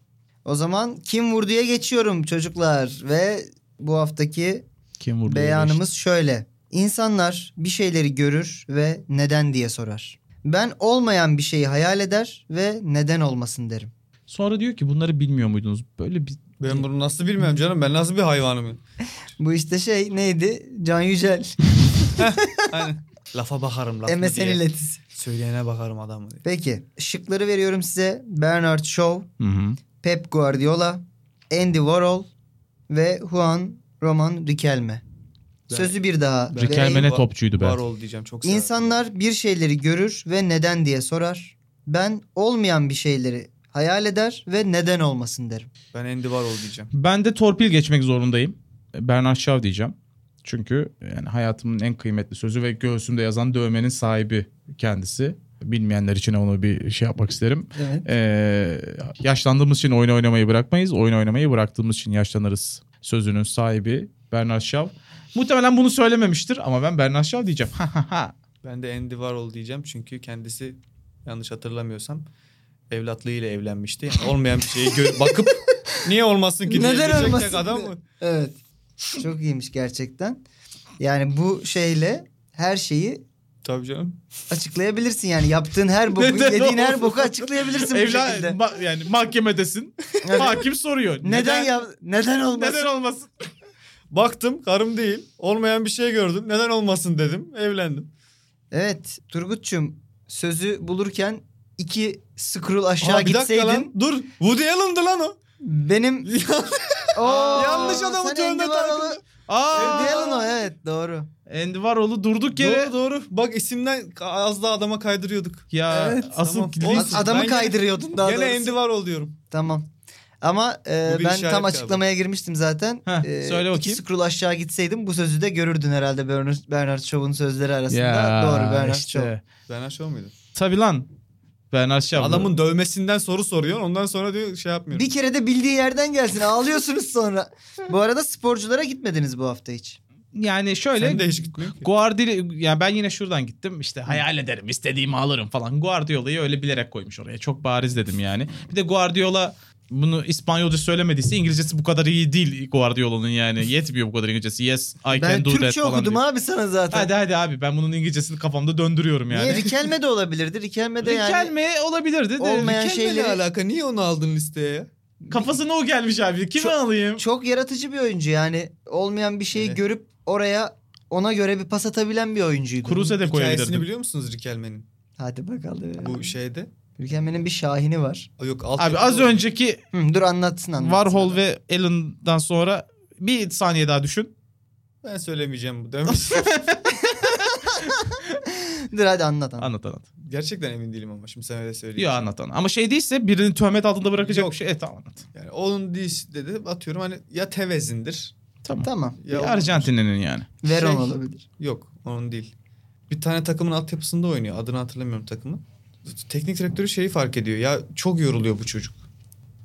O zaman kim vurduya geçiyorum çocuklar ve bu haftaki Kim vurdu? beyanımız şöyle. İnsanlar bir şeyleri görür ve neden diye sorar. Ben olmayan bir şeyi hayal eder ve neden olmasın derim. Sonra diyor ki bunları bilmiyor muydunuz? Böyle bir Ben bunu nasıl bilmiyorum canım. Ben nasıl bir hayvanım? ya? Bu işte şey neydi? Can Yücel. Aynen. Lafa bakarım laf mı MSN diye. iletisi. Söyleyene bakarım adam mı diye. Peki. Şıkları veriyorum size. Bernard Shaw, Pep Guardiola, Andy Warhol ve Juan Roman Riquelme. Ben- Sözü bir daha. Ben- vereyim. Riquelme ne Var- topçuydu be. Var ol diyeceğim çok severim. İnsanlar bir şeyleri görür ve neden diye sorar. Ben olmayan bir şeyleri hayal eder ve neden olmasın derim. Ben Andy Warhol diyeceğim. Ben de torpil geçmek zorundayım. Bernard Shaw diyeceğim. Çünkü yani hayatımın en kıymetli sözü ve göğsümde yazan dövmenin sahibi kendisi. Bilmeyenler için onu bir şey yapmak isterim. Evet. Ee, yaşlandığımız için oyun oynamayı bırakmayız. Oyun oynamayı bıraktığımız için yaşlanırız. Sözünün sahibi Bernard Shaw. Muhtemelen bunu söylememiştir ama ben Bernard Shaw diyeceğim. [LAUGHS] Ha ha ha. Ben de Andy Warhol diyeceğim çünkü kendisi yanlış hatırlamıyorsam evlatlığıyla evlenmişti. Yani olmayan bir şeye [LAUGHS] gö- bakıp niye olmasın ki diye Neden diyecek tek olmasın adam diye. mı? Evet. Çok iyiymiş gerçekten. Yani bu şeyle her şeyi Tabii canım. açıklayabilirsin yani yaptığın her boku, Neden yediğin her olmasın? boku açıklayabilirsin bu Evla- şekilde. ma- yani [LAUGHS] mahkemedesin. Evet. Hakim soruyor. Neden ya neden olmasın? Neden olmasın? [LAUGHS] Baktım karım değil. Olmayan bir şey gördüm. Neden olmasın dedim. Evlendim. Evet Turgutçum sözü bulurken iki scroll aşağı Aa, bir dakika gitseydin lan. Dur. Woody Allen'dı [LAUGHS] lan o. benim Oo, Yanlış adamı sen tövbe Andy Warhol'u- takıldın. Aa! Andy Allen o evet doğru. Andy Warhol'u durduk yere. Doğru doğru. Bak isimden az daha adama kaydırıyorduk. Ya Evet, asıl tamam. kilit- Olsun. Ad- adamı Ben gene- kaydırıyordun daha Gene doğrusu. Andy Warhol diyorum. Tamam. Ama e, Bu bir ben işaret tam galiba. açıklamaya girmiştim zaten. Heh, söyle İki bakayım. scroll aşağı gitseydim bu sözü de görürdün herhalde Bernard, Bernard Shaw'un sözleri arasında. Ya, Doğru Bernard işte. Shaw. Ben aşağı mıydı? Tabii lan. Bernard Shaw. Adamın dövmesinden soru soruyor. Ondan sonra diyor şey yapmıyorum. Bir kere de bildiği yerden gelsin ağlıyorsunuz sonra. bu arada sporculara gitmediniz bu hafta hiç. yani Sen şöyle de hiç gitmiyor ki. Guardiola yani ben yine şuradan gittim işte hayal ederim istediğimi alırım falan. Guardiola'yı öyle bilerek koymuş oraya. Çok bariz dedim yani. Bir de Guardiola Bunu İspanyolca söylemediyse İngilizcesi bu kadar iyi değil Guardiola'nın yani. Yetmiyor bu kadar İngilizcesi. Yes, I Ben can do that Türkçe falan okudum diyor. abi sana zaten. Hadi hadi abi ben bunun İngilizcesini kafamda döndürüyorum yani. Niye Rikelme de olabilirdi. Rikelme de yani. Rikelme olabilirdi. de. Olmayan Rikelme- şeyleri- alaka? Niye onu aldın listeye ya? Kafasına o gelmiş abi. Kimi Çok- alayım? Çok yaratıcı bir oyuncu yani. Olmayan bir şeyi Evet. görüp oraya ona göre bir pas atabilen bir oyuncuydu. Kruse de Hikayesini koyabilirdim. biliyor musunuz Rikelme'nin? Hadi bakalım. Bu şeyde. Rikelme'nin bir şahini var. O Yok alt Abi az önceki Hı, dur anlatsın anlatsın. Warhol ve Allen'dan sonra bir saniye daha düşün. Ben söylemeyeceğim bu demiş. [LAUGHS] Dur hadi anlat anlat. Anlat anlat. [LAUGHS] Gerçekten emin değilim ama şimdi sen öyle söyleyeyim. Yok anlat anlat. Ama şey değilse birini tuhmet altında bırakacak Yok. bir şey. E tamam anlat. Yani onun diş dedi atıyorum hani ya Tevez'indir. Tamam. Tamam. Ya Bir Arjantinlinin yani. Veron Şey- olabilir. Yok onun değil. Bir tane takımın altyapısında oynuyor. Adını hatırlamıyorum takımı. Teknik direktörü şeyi fark ediyor. Ya çok yoruluyor bu çocuk.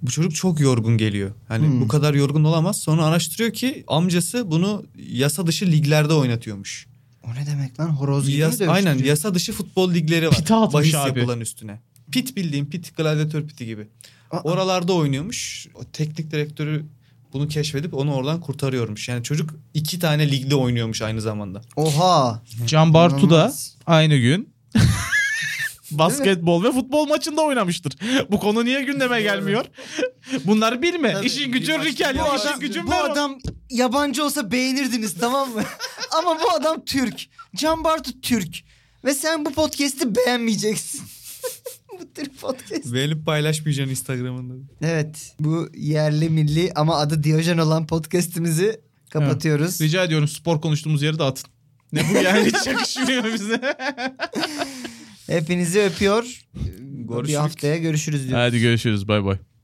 Bu çocuk çok yorgun geliyor. Hani Hmm. bu kadar yorgun olamaz. Sonra araştırıyor ki amcası bunu yasa dışı liglerde oynatıyormuş. O ne demek lan? Horoz gibi Yas- mi aynen dövüştürüyor? yasa dışı futbol ligleri var. Pite atmış Bahis abi. yapılan üstüne. Pit bildiğin pit gladyatör piti gibi. Aa. Oralarda oynuyormuş. O teknik direktörü bunu keşfedip onu oradan kurtarıyormuş. Yani çocuk iki tane ligde oynuyormuş aynı zamanda. Oha. Can Bartu da İnanılmaz. [LAUGHS] aynı gün basketbol ve futbol maçında oynamıştır. [LAUGHS] Bu konu niye gündeme gelmiyor? Bunları bilme. Tabii. İşin gücün Bir Rikel. başka- Bu İşin adam, gücün bu Veron. adam yabancı olsa beğenirdiniz tamam mı? [LAUGHS] Ama bu adam Türk. Can Bartu Türk. Ve sen bu podcast'i beğenmeyeceksin. [LAUGHS] bu tür podcast. Beğenip paylaşmayacaksın Instagram'ında. Evet. Bu yerli milli ama adı Diyojen olan podcast'imizi kapatıyoruz. Rica ediyorum spor konuştuğumuz yeri de atın. Ne bu yani [LAUGHS] hiç yakışmıyor bize. Hepinizi öpüyor. Bir haftaya görüşürüz diyoruz. Hadi görüşürüz bay bay.